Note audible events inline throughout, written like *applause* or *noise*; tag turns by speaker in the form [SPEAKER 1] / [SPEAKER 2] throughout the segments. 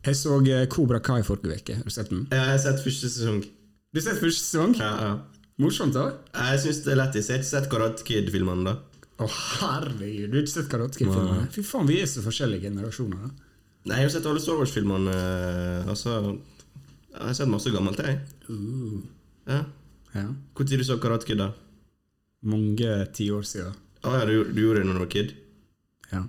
[SPEAKER 1] Jeg så eh, Cobra Kai forrige uke. Har du sett den?
[SPEAKER 2] Jeg har sett første sesong.
[SPEAKER 1] Du har sett første sesong?
[SPEAKER 2] Ja, ja.
[SPEAKER 1] Morsomt, da.
[SPEAKER 2] Jeg syns det er lættis. Jeg har ikke sett Karate Kid-filmene, da.
[SPEAKER 1] Å, herregud, du har ikke sett Karate Kid-filmene? Fy faen, vi er så forskjellige generasjoner. da.
[SPEAKER 2] Nei, jeg har sett alle Star Wars-filmene. eh, Altså Jeg har sett masse gammelt, jeg.
[SPEAKER 1] Uh.
[SPEAKER 2] Ja.
[SPEAKER 1] Ja.
[SPEAKER 2] Hvor tid du så Karate Kid, da?
[SPEAKER 1] Mange tiår siden.
[SPEAKER 2] Å ja, du, du gjorde det når du var kid?
[SPEAKER 1] Ja.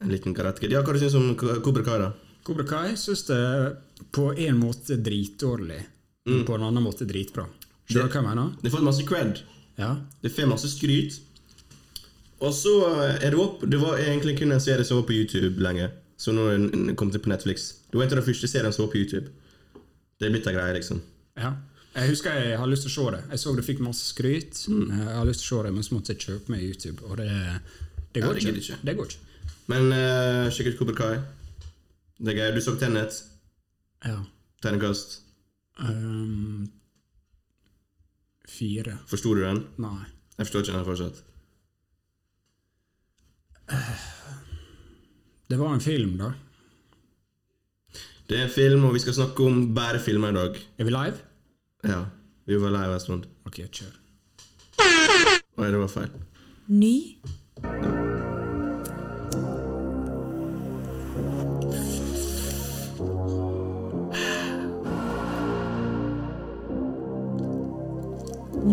[SPEAKER 2] En liten Karate Kid. Ja, hva du syns om K- Cobra Kai, da?
[SPEAKER 1] Cobra Kai syns det er på en måte dritdårlig, men på en annen måte dritbra. Skjønner du hva jeg mener?
[SPEAKER 2] Det har fått masse cred.
[SPEAKER 1] Ja.
[SPEAKER 2] Det får masse skryt. Og så eh, er det opp Det var egentlig kun en serie som var på YouTube lenge. Så nå er den den kom til på Netflix. Det var en av de første seriene som var på YouTube. Det er blitt ei greie, liksom.
[SPEAKER 1] ja. Jeg husker jeg har lyst til å se det. Jeg så det fikk masse skryt. Jeg har lyst til å se det, men så måtte jeg kjøpe meg YouTube, og det, det går
[SPEAKER 2] det gidder
[SPEAKER 1] ikke.
[SPEAKER 2] ikke.
[SPEAKER 1] Det går ikke.
[SPEAKER 2] Men uh, sjekk ut Cobra Kai. Det er gøy. Du så Tenet.
[SPEAKER 1] Ja.
[SPEAKER 2] Tegnekast.
[SPEAKER 1] Ehm, fire.
[SPEAKER 2] Forsto du den?
[SPEAKER 1] Nei.
[SPEAKER 2] Jeg forstår ikke den fortsatt.
[SPEAKER 1] Det var en film, da.
[SPEAKER 2] Det er en film, og vi skal snakke om bare filmer i dag.
[SPEAKER 1] Er vi live?
[SPEAKER 2] Ja. Vi var live en stund.
[SPEAKER 1] Ok, kjør.
[SPEAKER 2] Oi, det var feil.
[SPEAKER 3] Ny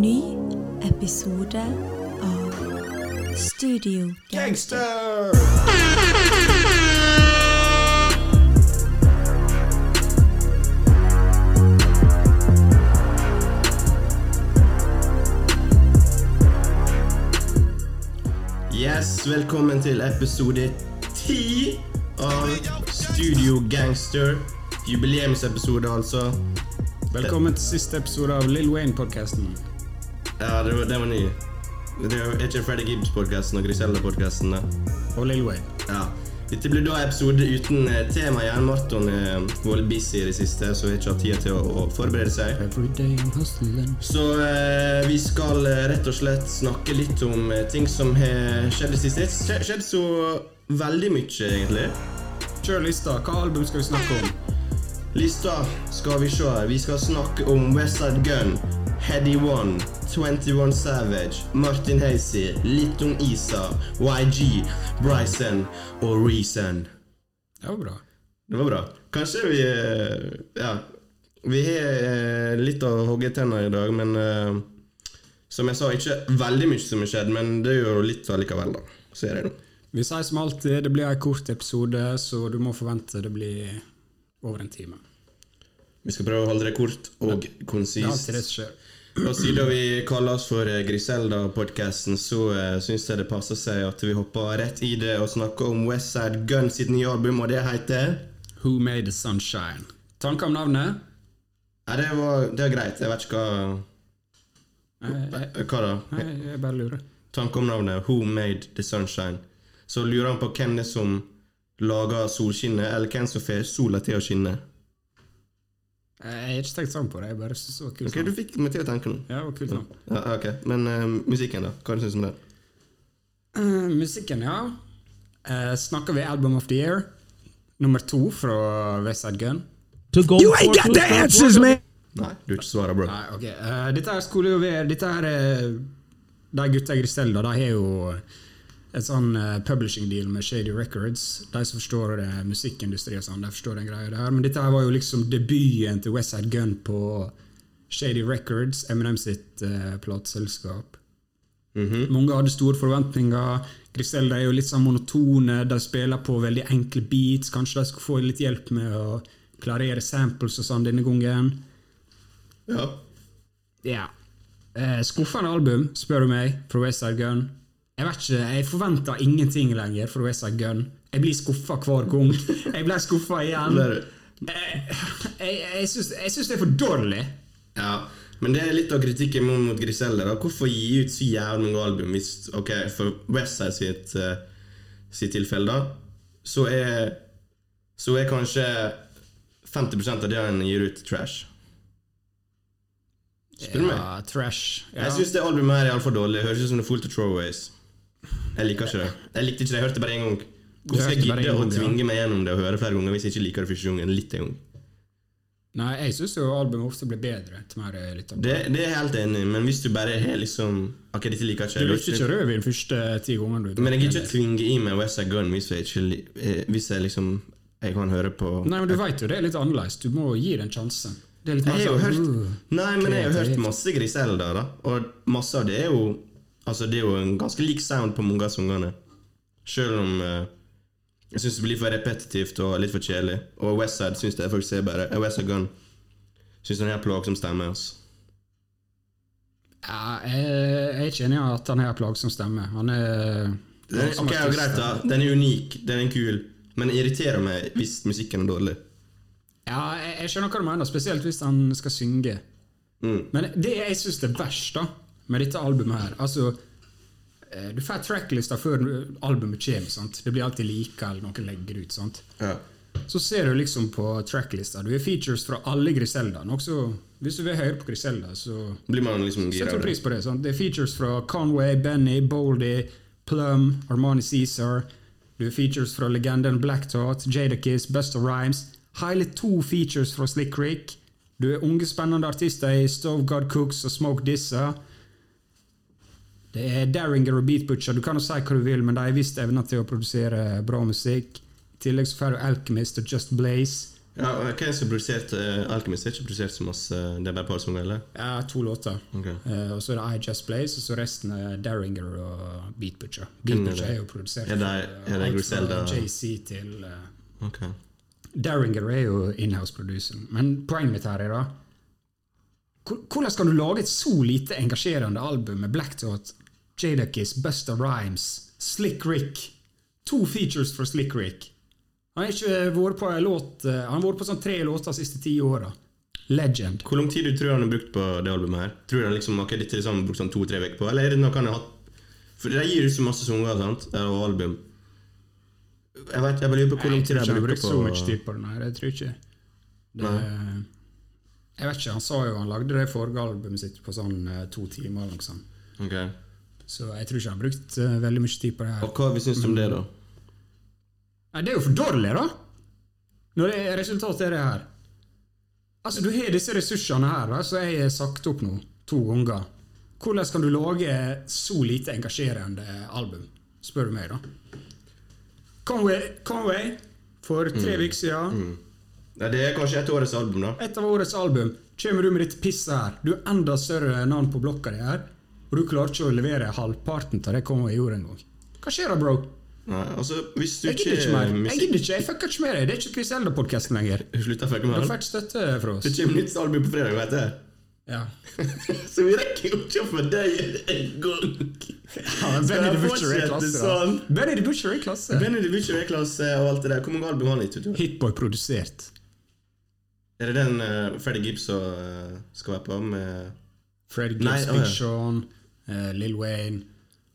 [SPEAKER 3] Ny episode av Studio
[SPEAKER 2] Gangster! Yes, velkommen til episode 10 av Studio Gangster. Jubileumsepisode, altså.
[SPEAKER 1] Velkommen til siste episode av Lill Wayne-podkasten.
[SPEAKER 2] Ja, det var, den var ny. Det er ikke Freddy Gibbs-podkasten og Griselda-podkasten. da.
[SPEAKER 1] Og Lill Wayne.
[SPEAKER 2] Ja. Dette blir da episode uten eh, tema igjen. Marton har vært busy i det siste, så har ikke hatt tid til å, å forberede seg.
[SPEAKER 1] Every day I'm hustling.
[SPEAKER 2] Så eh, vi skal eh, rett og slett snakke litt om eh, ting som har skjedd i det siste. Det har skjedd så veldig mye, egentlig.
[SPEAKER 1] Kjør lista. Hva album skal vi snakke om?
[SPEAKER 2] Lista skal vi se. Vi skal snakke om Westside Gun, Heady One, 21 Savage, Martin Hazy, Litton Isa, YG, Bryson og Reason.
[SPEAKER 1] Det var bra.
[SPEAKER 2] Det var bra. Kanskje vi eh, Ja. Vi har eh, litt å hogge i tenna i dag, men eh, som jeg sa, ikke veldig mye som har skjedd, men det er jo litt allikevel, da. Så er det nå.
[SPEAKER 1] Vi sier som alltid, det blir en kort episode, så du må forvente det blir over en time.
[SPEAKER 2] Vi skal prøve å holde det kort
[SPEAKER 1] Det
[SPEAKER 2] og
[SPEAKER 1] er alltid det
[SPEAKER 2] konsist.
[SPEAKER 1] som skjer.
[SPEAKER 2] Og siden vi kaller oss for eh, Griselda-podkasten, så uh, syns jeg det passer seg at vi hopper rett i det og snakker om Westside Gun sitt nye album, og det heter
[SPEAKER 1] Who Made the Sunshine? Tanker om navnet?
[SPEAKER 2] Ja, det var, det var greit. Jeg vet ikke
[SPEAKER 1] Nei,
[SPEAKER 2] hva Hva da?
[SPEAKER 1] nei, jeg bare lurer.
[SPEAKER 2] tanke om navnet Who Made The Sunshine. Så lurer han på hvem det er som lager solskinnet, eller hvem som får sola til å skinne.
[SPEAKER 1] Jeg har ikke tenkt sånn på det, jeg bare synes det var kult.
[SPEAKER 2] Ok, Du fikk meg til å tenke nå.
[SPEAKER 1] Ja, det var kult navn.
[SPEAKER 2] Ja, ok, Men eh, musikken, da? Hva syns du om den?
[SPEAKER 1] Eh, musikken, ja. Eh, snakker vi Album of the Year, nummer to fra Westside Gun.
[SPEAKER 4] to go you ain't got the answers, man.
[SPEAKER 2] Nei, du har ikke svaret, bro.
[SPEAKER 1] Nei, ok. Eh, dette her skulle jo være Dette her eh, De gutta i Griselda, de har jo et sånn eh, publishing deal med Shady Records. De som forstår eh, musikkindustri og sånn, de forstår den greia der. Men dette her var jo liksom debuten til Westside Gun på Shady Records, Eminem sitt eh, plateselskap. Mange hadde store forventninger. Griselda er jo litt sånn monotone. De spiller på veldig enkle beats. Kanskje de skulle få litt hjelp med å klarere samples og sånn denne gangen.
[SPEAKER 2] Ja.
[SPEAKER 1] Ja. Eh, skuffende album, spør du meg, fra Westside Gun. Jeg vet ikke, jeg forventer ingenting lenger fra Westside Gun. Jeg blir skuffa hver gang. *laughs* Jeg ble skuffa igjen.
[SPEAKER 2] Der.
[SPEAKER 1] Eh, Jeg, jeg, syns, jeg syns det er for dårlig.
[SPEAKER 2] ja. Men det er litt av kritikken min mot Griselda. da. Hvorfor gi ut så jævlig mange album hvis Ok, for Westside sitt, eh, sitt tilfelle, da, så er, så er kanskje 50 av det han gir ut, trash. Spør du meg?
[SPEAKER 1] Ja, trash. Ja.
[SPEAKER 2] Jeg syns det albumet her er altfor dårlig. Det høres ut som det er fullt av throwaways. Jeg liker ikke det. Jeg likte ikke det. Jeg hørte det bare én gang. Jeg skal
[SPEAKER 1] hørte bare
[SPEAKER 2] gidde
[SPEAKER 1] en
[SPEAKER 2] å
[SPEAKER 1] gang, ja.
[SPEAKER 2] tvinge meg gjennom det og høre flere ganger hvis jeg ikke liker det første gangen. Litt en gang.
[SPEAKER 1] Nei, jeg syns jo albumet ofte blir bedre. til mer eh, jeg lytter på.
[SPEAKER 2] Det, det er jeg helt enig i, men hvis du bare har liksom Ok, dette liker jeg ikke.
[SPEAKER 1] Du
[SPEAKER 2] jeg
[SPEAKER 1] lytter ikke rødvin første eh, ti gangene du
[SPEAKER 2] Men jeg gidder ikke tvinge i meg West Side Gun hvis jeg ikke li- eh, Hvis jeg liksom Jeg kan høre på
[SPEAKER 1] Nei, men du veit jo det er litt annerledes. Du må gi det en sjanse. Det er litt
[SPEAKER 2] Jeg
[SPEAKER 1] mer
[SPEAKER 2] har jo
[SPEAKER 1] sånn,
[SPEAKER 2] hørt
[SPEAKER 1] uh,
[SPEAKER 2] Nei, men jeg har
[SPEAKER 1] kreativt.
[SPEAKER 2] hørt masse Griselda, da. Og masse av det er jo Altså, det er jo en ganske lik sound på mange av sangene. Selv om eh, jeg syns det blir for repetitivt og litt for kjedelig. Og Westside syns jeg faktisk er bare eh, Westside Gun syns den her plagsom stemmer. Altså.
[SPEAKER 1] Ja, jeg, jeg kjenner jo at han har plagsom stemme. Han er
[SPEAKER 2] Den, er- ok, ja, greit, da. Den er unik, den er kul, men den irriterer meg hvis musikken er dårlig.
[SPEAKER 1] Ja, jeg, jeg skjønner hva du mener, spesielt hvis han skal synge.
[SPEAKER 2] Mm.
[SPEAKER 1] Men det jeg syns er verst da, med dette albumet her Altså, eh, du får tracklista før du- albumet kommer. Sant? Det blir alltid like, eller noen legger ut. Sant?
[SPEAKER 2] Ja.
[SPEAKER 1] Så ser du liksom på tracklista. Du har features fra alle Griselda. Nok så, hvis du vil høre på Griselda, så
[SPEAKER 2] Blir man liksom gira
[SPEAKER 1] setter du
[SPEAKER 2] av det.
[SPEAKER 1] pris på det. Sant? Det er features fra Conway, Benny, Boldy, Plum, Armani Cæsar. Du har features fra legenden Black Tot, Jadakiss, Best of Rhymes. Hele to features fra Slick Creek. Du har unge, spennende artister i Stove God Cooks og Smoke Dissa. Det er Daringer og Beat Butcher. Du kan jo si hva du vil, men de har visst evner til å produsere bra musikk. I tillegg så får du Alchemist og Just Blaze.
[SPEAKER 2] Ja, og Hvem som produserte Alkymist? Har ikke produsert så masse Det er bare et par sanger, eller?
[SPEAKER 1] Ja, to låter.
[SPEAKER 2] Ok.
[SPEAKER 1] Eh, og så er det I Just Blaze, og så resten er Daringer og Beat Butcher. Beat
[SPEAKER 2] Hvem er
[SPEAKER 1] Butcher
[SPEAKER 2] det?
[SPEAKER 1] er jo produsert
[SPEAKER 2] Er det-
[SPEAKER 1] fra-
[SPEAKER 2] er det
[SPEAKER 1] alt fra
[SPEAKER 2] Griselda?
[SPEAKER 1] JC til eh,
[SPEAKER 2] Ok.
[SPEAKER 1] Daringer er jo inhouse-producer. Men poenget mitt her er da hvor- Hvordan skal du lage et så lite engasjerende album med Black Tot, Jadakiss, Busta Rhymes, Slick Rick To features fra Slick Rick. Han har ikke vært på en låt eh, Han har vært på sånn tre låter de siste ti åra. Legend.
[SPEAKER 2] Hvor lang tid du tror han har brukt på det albumet her? Tror du han liksom ok, dette liksom har brukt sånn to-tre uker på, eller er det noe han har hatt For de gir ut så masse sanger sant? og album. Jeg vet, jeg bare lurer på hvor lang
[SPEAKER 1] Jeg
[SPEAKER 2] tid
[SPEAKER 1] tror
[SPEAKER 2] de
[SPEAKER 1] ikke
[SPEAKER 2] har
[SPEAKER 1] han
[SPEAKER 2] brukt
[SPEAKER 1] brukte
[SPEAKER 2] på
[SPEAKER 1] så mye tid på den her. Jeg tror ikke. Det, jeg vet ikke, han sa jo han lagde det forrige albumet sitt på sånn eh, to timer eller noe sånt.
[SPEAKER 2] Ok.
[SPEAKER 1] Så jeg tror ikke han har brukt eh, veldig mye tid på det her.
[SPEAKER 2] Og hva vi syns om det, da?
[SPEAKER 1] Nei, det er jo for dårlig, da! Når det resultatet er det her. Altså, du har disse ressursene her, da, som jeg har sagt opp nå to ganger. Hvordan kan du lage så lite engasjerende album, spør du meg, da? Conway, Conway for tre uker siden.
[SPEAKER 2] Nei, det er kanskje et årets album, da.
[SPEAKER 1] Et av årets album. Kommer du med dette pisset her? Du er enda større navn på blokka di her, og du klarer ikke å levere halvparten av det Conway gjorde en gang. Hva skjer da, bro?
[SPEAKER 2] Nei, altså, hvis du
[SPEAKER 1] Jeg
[SPEAKER 2] ikke
[SPEAKER 1] gidder ikke mer. Jeg
[SPEAKER 2] musikk-
[SPEAKER 1] gidder ikke, jeg fucker ikke med deg. Det er ikke Griselda-podkasten lenger.
[SPEAKER 2] Slutt å fucke
[SPEAKER 1] Du
[SPEAKER 2] med han.
[SPEAKER 1] får ikke støtte fra
[SPEAKER 2] Det
[SPEAKER 1] oss.
[SPEAKER 2] kommer nytt album på fredag, vet jeg. *laughs*
[SPEAKER 1] Ja.
[SPEAKER 2] Så vi rekker jo ikke å få deg en gang.
[SPEAKER 1] Benny the Butcher er i klasse. da.
[SPEAKER 2] sånn?
[SPEAKER 1] Benny the Butcher er i klasse.
[SPEAKER 2] Benny the Butcher er i klasse og alt det der. Hvor mange album har han gitt ut? tror du?
[SPEAKER 1] Hitboy produsert.
[SPEAKER 2] Er det den uh, Freddy Gibbs som eh, skal være på med
[SPEAKER 1] Fred
[SPEAKER 2] Nei,
[SPEAKER 1] Gibbs,
[SPEAKER 2] å, ja.
[SPEAKER 1] Big Sean, eh, Lil Wayne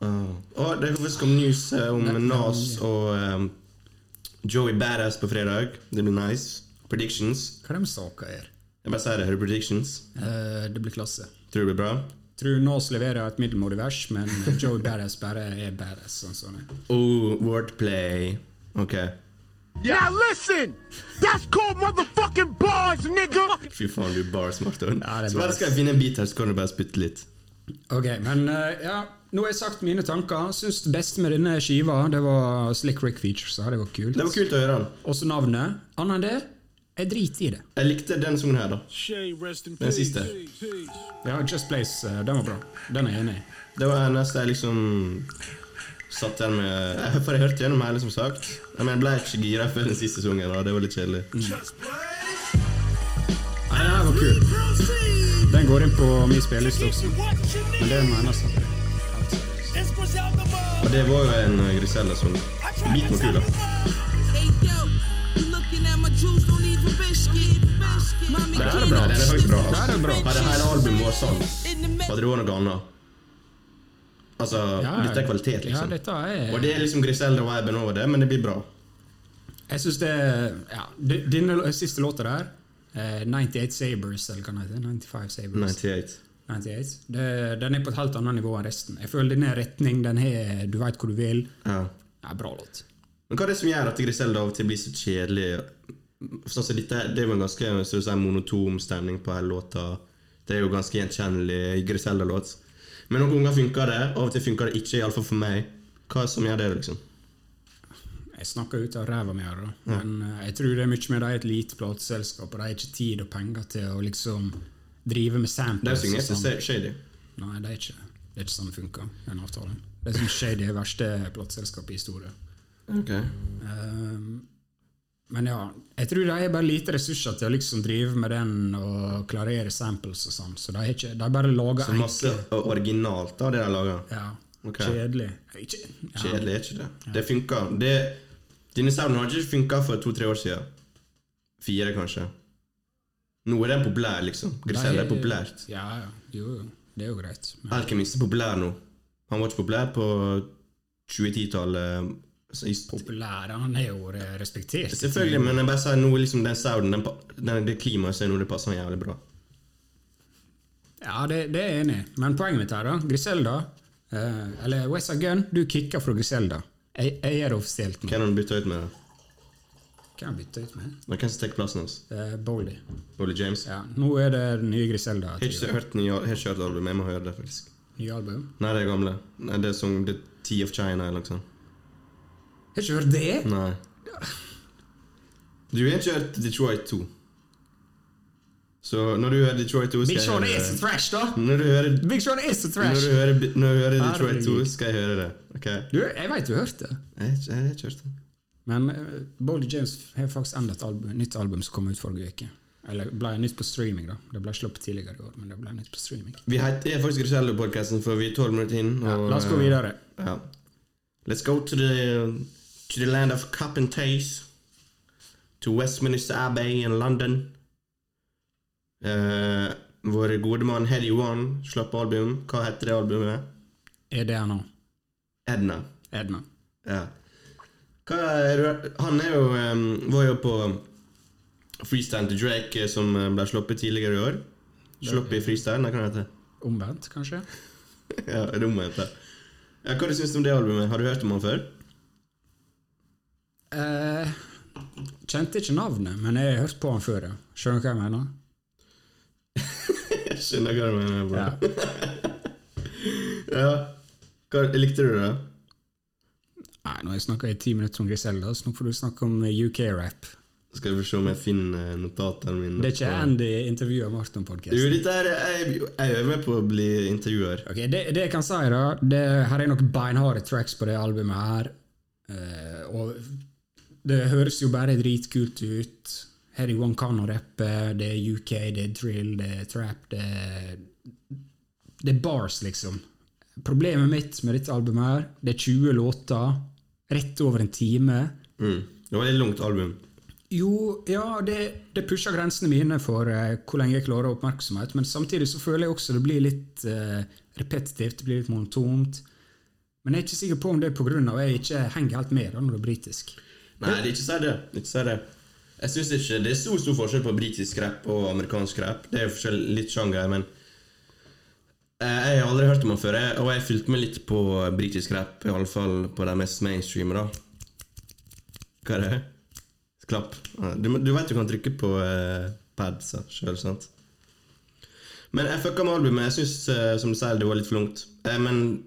[SPEAKER 2] Åh, Åh, eh, Det kommer faktisk komme news eh, om Nas og eh, Joey Badass på fredag. Det blir nice. Predictions.
[SPEAKER 1] Hva er det med saka her?
[SPEAKER 2] Jeg bare sier det. Hører du predictions?
[SPEAKER 1] Eh, det blir klasse.
[SPEAKER 2] Tror du det blir bra?
[SPEAKER 1] Tror Nas leverer et middelmådig vers, men Joey Badass bare er badass. Sånn, sånn. er.
[SPEAKER 2] Oh, wordplay. Ok.
[SPEAKER 5] Now listen, that's called motherfucking bars, nigga.
[SPEAKER 2] Fy faen, du er bars, Martin.
[SPEAKER 1] Ja, det er
[SPEAKER 2] Så
[SPEAKER 1] bra.
[SPEAKER 2] bare skal jeg finne en bit her, så kan du bare spytte litt.
[SPEAKER 1] Ok, men eh, ja, nå har jeg sagt mine tanker. Syns det beste med denne skiva, det var Slick Rick Features. Ja, det var kult.
[SPEAKER 2] Det var kult å høre. han.
[SPEAKER 1] Også navnet. Annet enn det, jeg driter i det.
[SPEAKER 2] Jeg likte den sangen her, da.
[SPEAKER 6] Shay, rest in
[SPEAKER 2] Den
[SPEAKER 6] peace.
[SPEAKER 2] siste.
[SPEAKER 1] Ja, Just Place, eh, den var bra. Den er jeg enig i.
[SPEAKER 2] Det var neste jeg liksom satt der med *laughs* Jeg- For jeg hørte gjennom hele, som sagt. Men jeg ble ikke gira før den siste sangen, og det var litt kjedelig.
[SPEAKER 1] Nei, den her var kul. Den går inn på min spilleliste også. Men det mener jeg sånn.
[SPEAKER 2] Og det var jo en eh, Griselda-sang. Bit på kula.
[SPEAKER 7] Hey yo, you looking at my jewels, don't even biscuit. Mommy,
[SPEAKER 2] Det her er
[SPEAKER 7] clean
[SPEAKER 2] bra.
[SPEAKER 7] up
[SPEAKER 2] Den er faktisk bra. altså.
[SPEAKER 1] Det her er bra.
[SPEAKER 2] Hadde hele albumet vært sånn,
[SPEAKER 7] in the mix.
[SPEAKER 2] hadde det vært noe annet. Altså, dette er kvalitet,
[SPEAKER 1] Ja,
[SPEAKER 2] liksom.
[SPEAKER 1] dette
[SPEAKER 2] Og
[SPEAKER 1] er
[SPEAKER 2] det er liksom Griselda-viben over det, men det blir bra.
[SPEAKER 1] Jeg syns det Ja, d- denne lå- siste låta der, eh, 98 Sabres, eller hva den heter 95 Sabres.
[SPEAKER 2] 98.
[SPEAKER 1] 98. Det, den er på et helt annet nivå enn resten. Jeg føler den er retning, den har Du veit hvor du vil.
[SPEAKER 2] Ja.
[SPEAKER 1] Ja, bra låt.
[SPEAKER 2] Men hva er det som gjør at Griselda av og til blir så kjedelig? For altså, dette, det var en ganske så å si, sånn monotom stemning på hele låta. Det er jo ganske gjenkjennelig Griselda-låt. Men noen ganger funker det, av og til funker det ikke, iallfall for meg. Hva er det som gjør det, liksom?
[SPEAKER 1] Jeg snakker ut av ræva mi her, da. Men eh, jeg tror det er mye med de er et lite plateselskap, og de har ikke tid og penger til å liksom drive med
[SPEAKER 2] Det er
[SPEAKER 1] samples.
[SPEAKER 2] jo synger
[SPEAKER 1] og
[SPEAKER 2] etter
[SPEAKER 1] sånn.
[SPEAKER 2] Se- Shady.
[SPEAKER 1] Nei, det er ikke det er ikke sånn det funker, den avtalen. Det er sånn shady verste plateselskapet i historien. Ehm, men ja, jeg tror de har bare lite ressurser til å liksom drive med den og klarere samples og sånn, så de har ikke, de bare lager
[SPEAKER 2] Så masse originalt av det de lager.
[SPEAKER 1] Ja,
[SPEAKER 2] Ok.
[SPEAKER 1] kjedelig. Ikke, ja.
[SPEAKER 2] Kjedelig, er ikke det? Det funker. Det, denne sounden hadde ikke funka for to-tre år siden. Fire, kanskje. Nå er den populær, liksom. Griselda er
[SPEAKER 1] De-
[SPEAKER 2] populært.
[SPEAKER 1] Ja, ja. Jo, jo. Det er jo greit. Men,
[SPEAKER 2] Alkymist er populær nå. Han var ikke populær på 2010-tallet. så i-
[SPEAKER 1] populær, han er jo eh, respektert.
[SPEAKER 2] Selvfølgelig, men jeg bare sier nå liksom den souden, den, pa- den, det klimaet som er nå, det passer han jævlig bra.
[SPEAKER 1] Ja, det, det er jeg enig i. Men poenget mitt her, da. Griselda, eh, eller Westside Gun, du kicker fra Griselda. Jeg, jeg gjør det offisielt nå.
[SPEAKER 2] Hvem har du bytta ut med? da?
[SPEAKER 1] Hvem bytter ut med?
[SPEAKER 2] Og Hvem som tar plassen hans?
[SPEAKER 1] Eh, Bowley.
[SPEAKER 2] Ole James?
[SPEAKER 1] Ja, nå er det den nye Griselda.
[SPEAKER 2] Jeg har ikke hørt nye- jeg har ikke hørt albumet, jeg må høre det, faktisk.
[SPEAKER 1] Nye album.
[SPEAKER 2] Nei, det er gamle. Nei, det er som The Tea of China eller noe sånt.
[SPEAKER 1] Har ikke hørt det?
[SPEAKER 2] Nei. Du har ikke hørt Detroit 2. Så når du hører Detroit 2, skal
[SPEAKER 1] Big
[SPEAKER 2] jeg
[SPEAKER 1] Sean
[SPEAKER 2] høre
[SPEAKER 1] er så
[SPEAKER 2] det.
[SPEAKER 1] trash, da!
[SPEAKER 2] Når du hører,
[SPEAKER 1] Big Sean er så
[SPEAKER 2] når
[SPEAKER 1] trash!
[SPEAKER 2] du hører, når du hører Detroit
[SPEAKER 1] Herregud.
[SPEAKER 2] 2, skal jeg høre det. Ok?
[SPEAKER 1] Du, jeg veit du hørte det.
[SPEAKER 2] Jeg har ikke- jeg har ikke hørt det.
[SPEAKER 1] Men uh, Boldy James har faktisk enda et album, nytt album som kom ut forrige uke. Eller ble nytt på streaming, da. Det ble sluppet tidligere i år, men det ble nytt på streaming.
[SPEAKER 2] Vi het- er faktisk Grisello-podkasten, for vi er tolv minutter inn.
[SPEAKER 1] Ja,
[SPEAKER 2] og,
[SPEAKER 1] la oss gå
[SPEAKER 2] eh,
[SPEAKER 1] videre.
[SPEAKER 2] Ja. Let's go to the, to the land of cup and taste. To Westminster Abbey in London. Eh, vår gode mann Heddy One slapp album. Hva heter det albumet?
[SPEAKER 1] Er det han nå?
[SPEAKER 2] Edna.
[SPEAKER 1] Edna.
[SPEAKER 2] Ja. Hva er, du- han er jo, eh, var jo på freestyle til Drake, eh, som eh, ble sluppet tidligere i år. Sluppet i freestyle, nei, hva heter det?
[SPEAKER 1] Omvendt, kanskje?
[SPEAKER 2] Ja, rommet heter det. Ja, hva du syns du om det albumet? Har du hørt om han før?
[SPEAKER 1] Eh, kjente ikke navnet, men jeg har hørt på han før. ja. Skjønner du hva jeg mener?
[SPEAKER 2] Jeg skjønner hva du mener. bro.
[SPEAKER 1] Ja.
[SPEAKER 2] Ja. Hva, likte du det?
[SPEAKER 1] Nei, nå har jeg snakka i ti minutter om Griselda, så nå får du snakke om UK-rap.
[SPEAKER 2] Skal vi se om jeg finner eh, notatene mine.
[SPEAKER 1] Det er ikke Andy intervjuet Martin podcast.
[SPEAKER 2] Jo, dette her, jeg, jeg er med på å bli intervjuer.
[SPEAKER 1] Ok, det, det jeg kan si, da det, Her er noen beinharde tracks på det albumet her. eh, og det høres jo bare dritkult ut. Harry One kan å rappe, det er UK, det er drill, det er trap, det er Det er bars, liksom. Problemet mitt med dette albumet her, det er 20 låter, rett over en time.
[SPEAKER 2] Mm. Det var et langt album.
[SPEAKER 1] Jo, ja, det, det pusher grensene mine for eh, hvor lenge jeg klarer oppmerksomhet, men samtidig så føler jeg også det blir litt eh, repetitivt, det blir litt monotont. Men jeg er ikke sikker på om det er pga. at jeg ikke henger helt med da når det er britisk.
[SPEAKER 2] Nei, det er ikke si det. det, er ikke si det. Jeg synes ikke Det er så stor forskjell på britisk rap og amerikansk rap. Det er jo forskjell, litt sjanger, men Eh, Jeg har aldri hørt om han før, jeg- og jeg fulgte med litt på britisk rap. Iallfall på de mest mainstreame, da. Hva er det? Klapp. Ja, Du, du veit du kan trykke på eh, pads sjøl, sant? Men jeg fucka med albumet. Jeg syns, eh, som du sier, det var litt for langt. Eh, men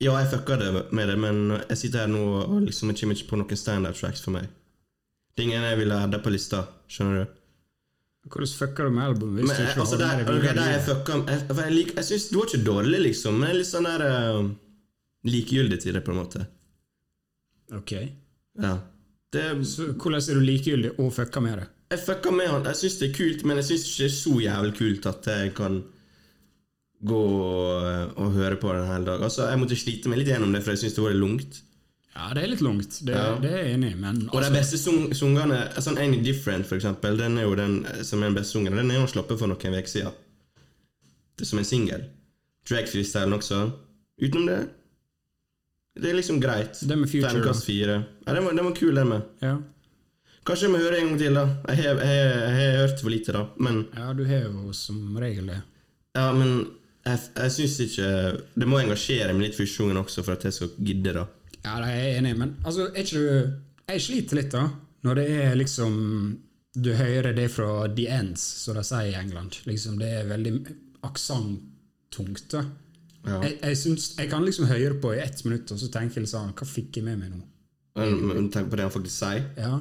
[SPEAKER 2] ja, jeg fucka det med det, men jeg sitter her nå og liksom jeg kommer ikke på noen standup tracks for meg. Det er ingen jeg ville hadde på lista, skjønner du.
[SPEAKER 1] Hvordan fucker du med albumet hvis
[SPEAKER 2] Men
[SPEAKER 1] du
[SPEAKER 2] jeg,
[SPEAKER 1] ikke
[SPEAKER 2] altså,
[SPEAKER 1] holder
[SPEAKER 2] der,
[SPEAKER 1] deg
[SPEAKER 2] ok,
[SPEAKER 1] videre?
[SPEAKER 2] der jeg fucka Jeg, for jeg, lik, jeg syns det var ikke dårlig, liksom, men jeg er litt sånn der eh, likegyldig til det, på en måte.
[SPEAKER 1] Ok.
[SPEAKER 2] Ja. Det,
[SPEAKER 1] Så hvordan er du likegyldig og fucker med det?
[SPEAKER 2] jeg fucka med han. Jeg syns det er kult, men jeg syns ikke det er så jævlig kult at jeg kan gå og, og høre på den hele dag. Altså, jeg måtte slite meg litt gjennom det, for jeg syns det var litt langt.
[SPEAKER 1] Ja, det er litt langt, det,
[SPEAKER 2] Ja.
[SPEAKER 1] det er jeg enig i, men
[SPEAKER 2] Og de
[SPEAKER 1] altså,
[SPEAKER 2] beste sung sungene, sånn Any Different for eksempel, den er jo den eh, som er den beste sungen, den er jo slappet for noen uker siden. Det er som en singel. Drag freestylen også. Utenom det, det er liksom greit.
[SPEAKER 1] Den med Future,
[SPEAKER 2] Terningkast fire. Ja, den var, den var kul, den med.
[SPEAKER 1] ja.
[SPEAKER 2] Kanskje jeg må høre en gang til, da. Jeg har- jeg har jeg har hørt for lite, da. Men,
[SPEAKER 1] ja, du har jo som regel det.
[SPEAKER 2] ja, men jeg, jeg syns ikke Det må engasjere meg litt første gangen også, for at jeg skal gidde, da.
[SPEAKER 1] Ja, det er jeg enig i, men altså, er ikke du Jeg sliter litt, da, når det er liksom Du hører det fra the ends, som de sier i England. Liksom, det er veldig aksenttungt, da.
[SPEAKER 2] Ja.
[SPEAKER 1] Jeg, jeg, syns, jeg kan liksom høre på i ett minutt, og så tenker jeg litt sånn Hva fikk jeg med meg nå?
[SPEAKER 2] Men, men tenk på det han faktisk sier,
[SPEAKER 1] Ja.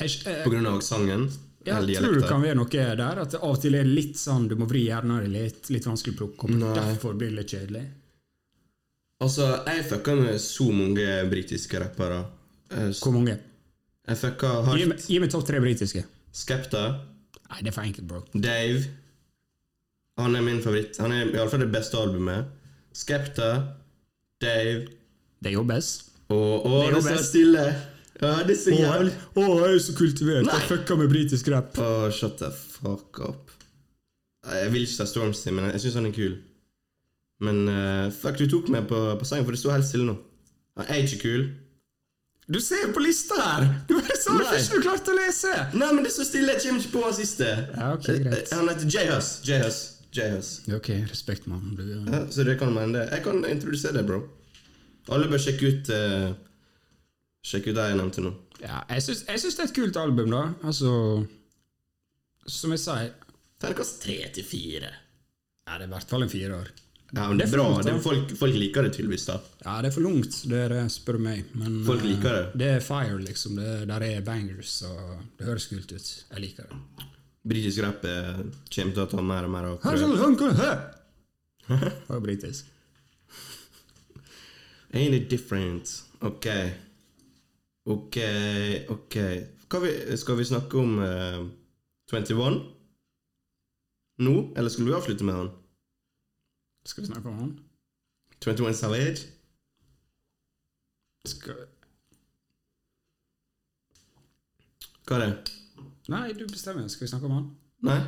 [SPEAKER 1] Jeg, jeg,
[SPEAKER 2] på grunn av sangen.
[SPEAKER 1] ja, tror
[SPEAKER 2] eller
[SPEAKER 1] du
[SPEAKER 2] dialekten.
[SPEAKER 1] det kan være noe der? At det av og til er litt sånn du må vri hjernen din litt, litt vanskelig å plukke opp.
[SPEAKER 2] Nei.
[SPEAKER 1] Derfor blir det litt kjedelig.
[SPEAKER 2] Altså, jeg fucka med så mange britiske rappere. Eh, s-
[SPEAKER 1] Hvor mange?
[SPEAKER 2] Jeg fucka
[SPEAKER 1] Gi, meg-
[SPEAKER 2] hardt.
[SPEAKER 1] gi meg topp tre britiske.
[SPEAKER 2] Skepta,
[SPEAKER 1] Nei, det er for enkelt, bro.
[SPEAKER 2] Dave Han er min favoritt. Han er iallfall det beste albumet. Skepta, Dave
[SPEAKER 1] Det er jo best.
[SPEAKER 2] og Å,
[SPEAKER 1] er jo
[SPEAKER 2] det står
[SPEAKER 1] best.
[SPEAKER 2] stille! Ja, det er så
[SPEAKER 1] Å,
[SPEAKER 2] jævlig.
[SPEAKER 1] jeg er så kultivert. Jeg fucka med britisk rap.
[SPEAKER 2] Å, shut the fuck up. Nei, Jeg vil ikke ta Stormzy, men jeg syns han er kul. Men eh, fuck, du tok meg på, på sengen, for det står helt stille nå. Han er ikke kul.
[SPEAKER 1] Du ser på lista her! Du bare sa det
[SPEAKER 2] Nei.
[SPEAKER 1] først du klarte å lese!
[SPEAKER 2] Nei, men det står stille! Jeg kommer ikke på han siste.
[SPEAKER 1] Ja, ok, greit.
[SPEAKER 2] Eh, Han heter J-Hus. J-Hus. J-Hus.
[SPEAKER 1] Ok, respekt, mann. Du-
[SPEAKER 2] Ja, så det kan man det. Jeg kan introdusere deg, bro. Alle bør sjekke ut eh, Sjekke ut det jeg nevnte nå.
[SPEAKER 1] Ja, jeg syns, jeg syns det er et kult album, da. Altså Som jeg sier
[SPEAKER 2] Terningkast tre til fire.
[SPEAKER 1] Ja, det er i hvert fall en fireår.
[SPEAKER 2] Ja, men
[SPEAKER 1] Det
[SPEAKER 2] det
[SPEAKER 1] er
[SPEAKER 2] er bra.
[SPEAKER 1] fint,
[SPEAKER 2] Det,
[SPEAKER 1] da.
[SPEAKER 2] folk, folk liker det tydeligvis, da.
[SPEAKER 1] Ja, det er for langt, det er det, spør du meg. Men
[SPEAKER 2] Folk
[SPEAKER 1] eh,
[SPEAKER 2] liker det.
[SPEAKER 1] Det er fire, liksom. Det, der er bangers, og det høres kult ut. Jeg liker det.
[SPEAKER 2] Britisk rap eh, kommer til å ta mer og mer av. tror
[SPEAKER 1] sånn,
[SPEAKER 2] jeg.
[SPEAKER 1] Det var britisk.
[SPEAKER 2] Ain't it different? Ok. Ok, ok. Skal vi, skal vi snakke om eh, 21 nå, eller skulle vi avslutte med han?
[SPEAKER 1] Skal vi snakke om han?
[SPEAKER 2] 21 Savage?
[SPEAKER 1] Skal...
[SPEAKER 2] Hva er det?
[SPEAKER 1] Nei, du bestemmer. Skal vi snakke om han?
[SPEAKER 2] Nei,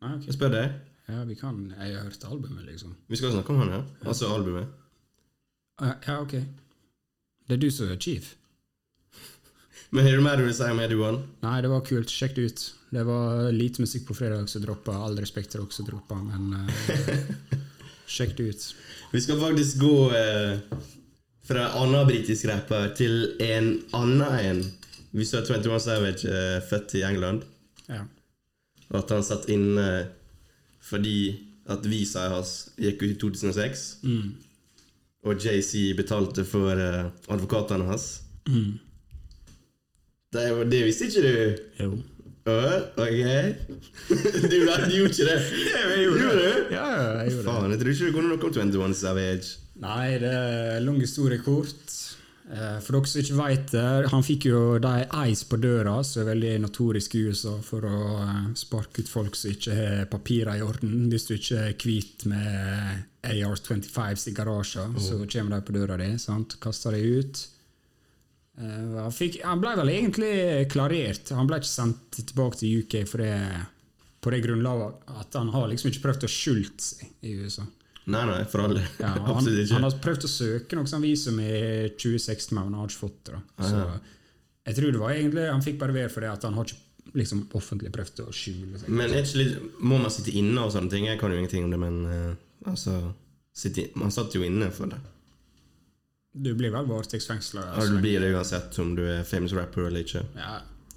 [SPEAKER 1] Nei, ok.
[SPEAKER 2] jeg spør deg.
[SPEAKER 1] Ja, vi kan. Jeg har hørt albumet, liksom.
[SPEAKER 2] Vi skal snakke om han, ja? Altså albumet.
[SPEAKER 1] Ja, ja, ok. Det er du som er chief.
[SPEAKER 2] Men har du mer du vil si om Eduan?
[SPEAKER 1] Nei, det var kult. Sjekk det ut. Det var lite musikk på fredag som droppa. All respekt til dere som droppa, men eh, sjekk det ut.
[SPEAKER 2] Vi skal faktisk gå eh, fra annen britisk rapper til en annen en. Vi så 21 Savage eh, født i England,
[SPEAKER 1] Ja.
[SPEAKER 2] og at han satt inne fordi at visa hans gikk ut i 2006.
[SPEAKER 1] Mm.
[SPEAKER 2] Og JC betalte for eh, advokatene hans.
[SPEAKER 1] Mm.
[SPEAKER 2] Det, er jo- det visste ikke du?
[SPEAKER 1] Jo.
[SPEAKER 2] Øh, ok? *laughs* du, du gjorde ikke det? Gjorde du?
[SPEAKER 1] Ja, ja, jeg gjorde det.
[SPEAKER 2] Faen, jeg tror ikke du kunne noe om 21 Savage.
[SPEAKER 1] Nei, det er lang historie kort. Eh, For dere som ikke veit det, han fikk jo de Ice på døra, som er veldig notorisk i USA for å eh, sparke ut folk som ikke har papirer i orden. Hvis du ikke er hvit med AR-25s i garasjen, så kommer de på døra di, sant? kaster deg ut. Eh, Han, fikk, han ble vel egentlig klarert. Han ble ikke sendt tilbake til UK for det, på det grunnlaget at han har liksom ikke prøvd å skjulte seg i USA.
[SPEAKER 2] Nei, nei, for alle. *laughs*
[SPEAKER 1] Ja, og han,
[SPEAKER 2] Absolutt ikke.
[SPEAKER 1] han har prøvd å søke noe sånt visum i 2016, men han har ikke fått det. Da. Så jeg tror det var egentlig Han fikk bare være for det at han har ikke liksom, offentlig prøvd å skjule seg.
[SPEAKER 2] Men er ikke litt, må man sitte inne og sånne ting? Jeg kan jo ingenting om det, men eh, altså sitte, inn- Man satt jo inne for det.
[SPEAKER 1] Du blir vel varetektsfengsla.
[SPEAKER 2] Ja,
[SPEAKER 1] Altså.
[SPEAKER 2] du blir det uansett om du er famous rapper eller ikke.
[SPEAKER 1] Ja.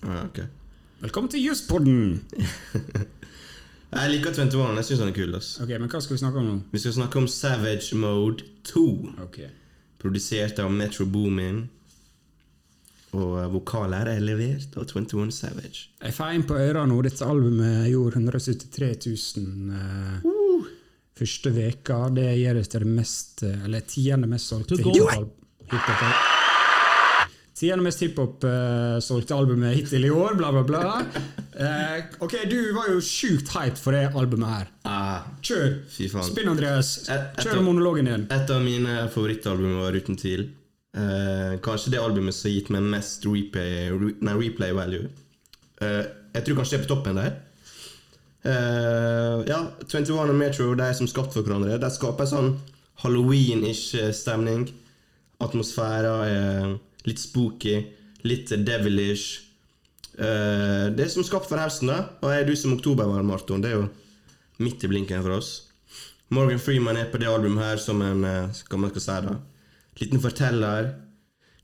[SPEAKER 2] Ja, ok.
[SPEAKER 1] Velkommen til Juspodden!
[SPEAKER 2] Jeg liker 21, jeg syns han er kul. ass.
[SPEAKER 1] Ok, men hva skal vi snakke om nå?
[SPEAKER 2] Vi skal snakke om Savage Mode 2.
[SPEAKER 1] Ok.
[SPEAKER 2] Produsert av Metro Boomin. Og eh, vokaler er levert av 21 Savage.
[SPEAKER 1] Jeg får inn på øra nå. Dette albumet gjorde 173 000 eh, første veka. Det gjør det til det mest, eh, eller tiende mest solgte
[SPEAKER 4] Took
[SPEAKER 1] hiphop- hiphop. Tiende mest hiphop-solgte albumet hittil i år, bla, bla, bla. Eh, ok, du var jo sjukt hyped for det albumet her.
[SPEAKER 2] Ah,
[SPEAKER 1] Kjør!
[SPEAKER 2] Fy faen.
[SPEAKER 1] Spinn, Andreas.
[SPEAKER 2] Et- etter-
[SPEAKER 1] Kjør monologen din.
[SPEAKER 2] Et av mine favorittalbum var uten tvil. Eh, kanskje det albumet som har gitt meg mest replay, re, nei, replay value. Eh, jeg tror kanskje det er på toppen der. Eh, ja, 21 og Metro de er som skapt for hverandre. De skaper sånn halloween-ish eh, stemning. Atmosfæra er litt spooky, litt devilish. Eh, det er som skapt for høsten, da. Og jeg er du som oktobervarmaraton. Det er jo midt i blinken for oss. Morgan Freeman er på det albumet her som en eh, hva man skal si da, liten forteller.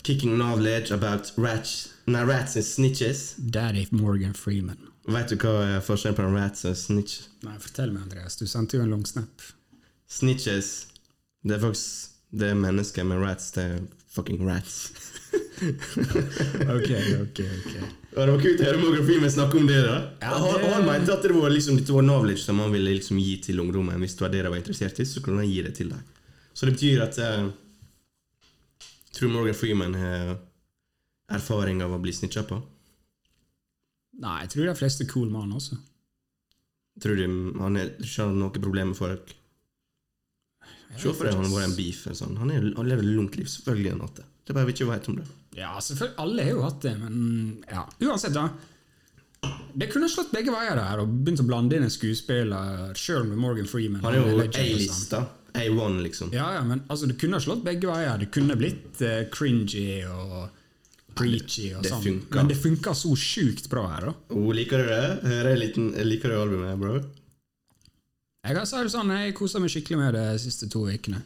[SPEAKER 2] Kicking knowledge about rats, nei, rats and snitches.
[SPEAKER 1] Daddy Morgan Freeman.
[SPEAKER 2] Vet du hva er forskjellen på en rats og snitch?
[SPEAKER 1] Nei, fortell meg, Andreas. Du sendte jo en lang snap.
[SPEAKER 2] Snitches Det er faktisk Det er mennesker med rats. Det er fucking rats.
[SPEAKER 1] Ok, ok, ok.
[SPEAKER 2] Ja, det var kult å høre Morgan Freeman snakke om det. da Og Han, og han mente at det var liksom dette var knowledge som han ville liksom gi til ungdommen. Hvis det var det de var interessert i, så kunne han gi det til dem. Så det betyr at eh, Jeg tror Morgan Freeman har erfaring av å bli snitcha på.
[SPEAKER 1] Nei, jeg tror de fleste er cool mann også.
[SPEAKER 2] Tror du han er, ikke har noe problem med folk? Se for deg han har vært en beef. eller Sånn. Han, er, han lever et lunkent liv. Selvfølgelig har han hatt det. Det er bare vi ikke vet om det.
[SPEAKER 1] Ja, selvfølgelig. Alle har jo hatt det, men ja. Uansett, da. Det kunne slått begge veier der, og begynt å blande inn en skuespiller, sjøl med Morgan Freeman.
[SPEAKER 2] Han er jo
[SPEAKER 1] legend, liksom.
[SPEAKER 2] A-lista. A1, liksom.
[SPEAKER 1] Ja, ja, men altså, det kunne ha slått begge veier. Det kunne blitt eh, cringy og preachy og
[SPEAKER 2] det
[SPEAKER 1] sånn.
[SPEAKER 2] funka.
[SPEAKER 1] Men det funka så sjukt bra her, da.
[SPEAKER 2] Oh, liker du det? Hører jeg liten, liker du albumet, her, bro?
[SPEAKER 1] Jeg kan si det sånn, jeg kosa meg skikkelig med det de siste to ukene.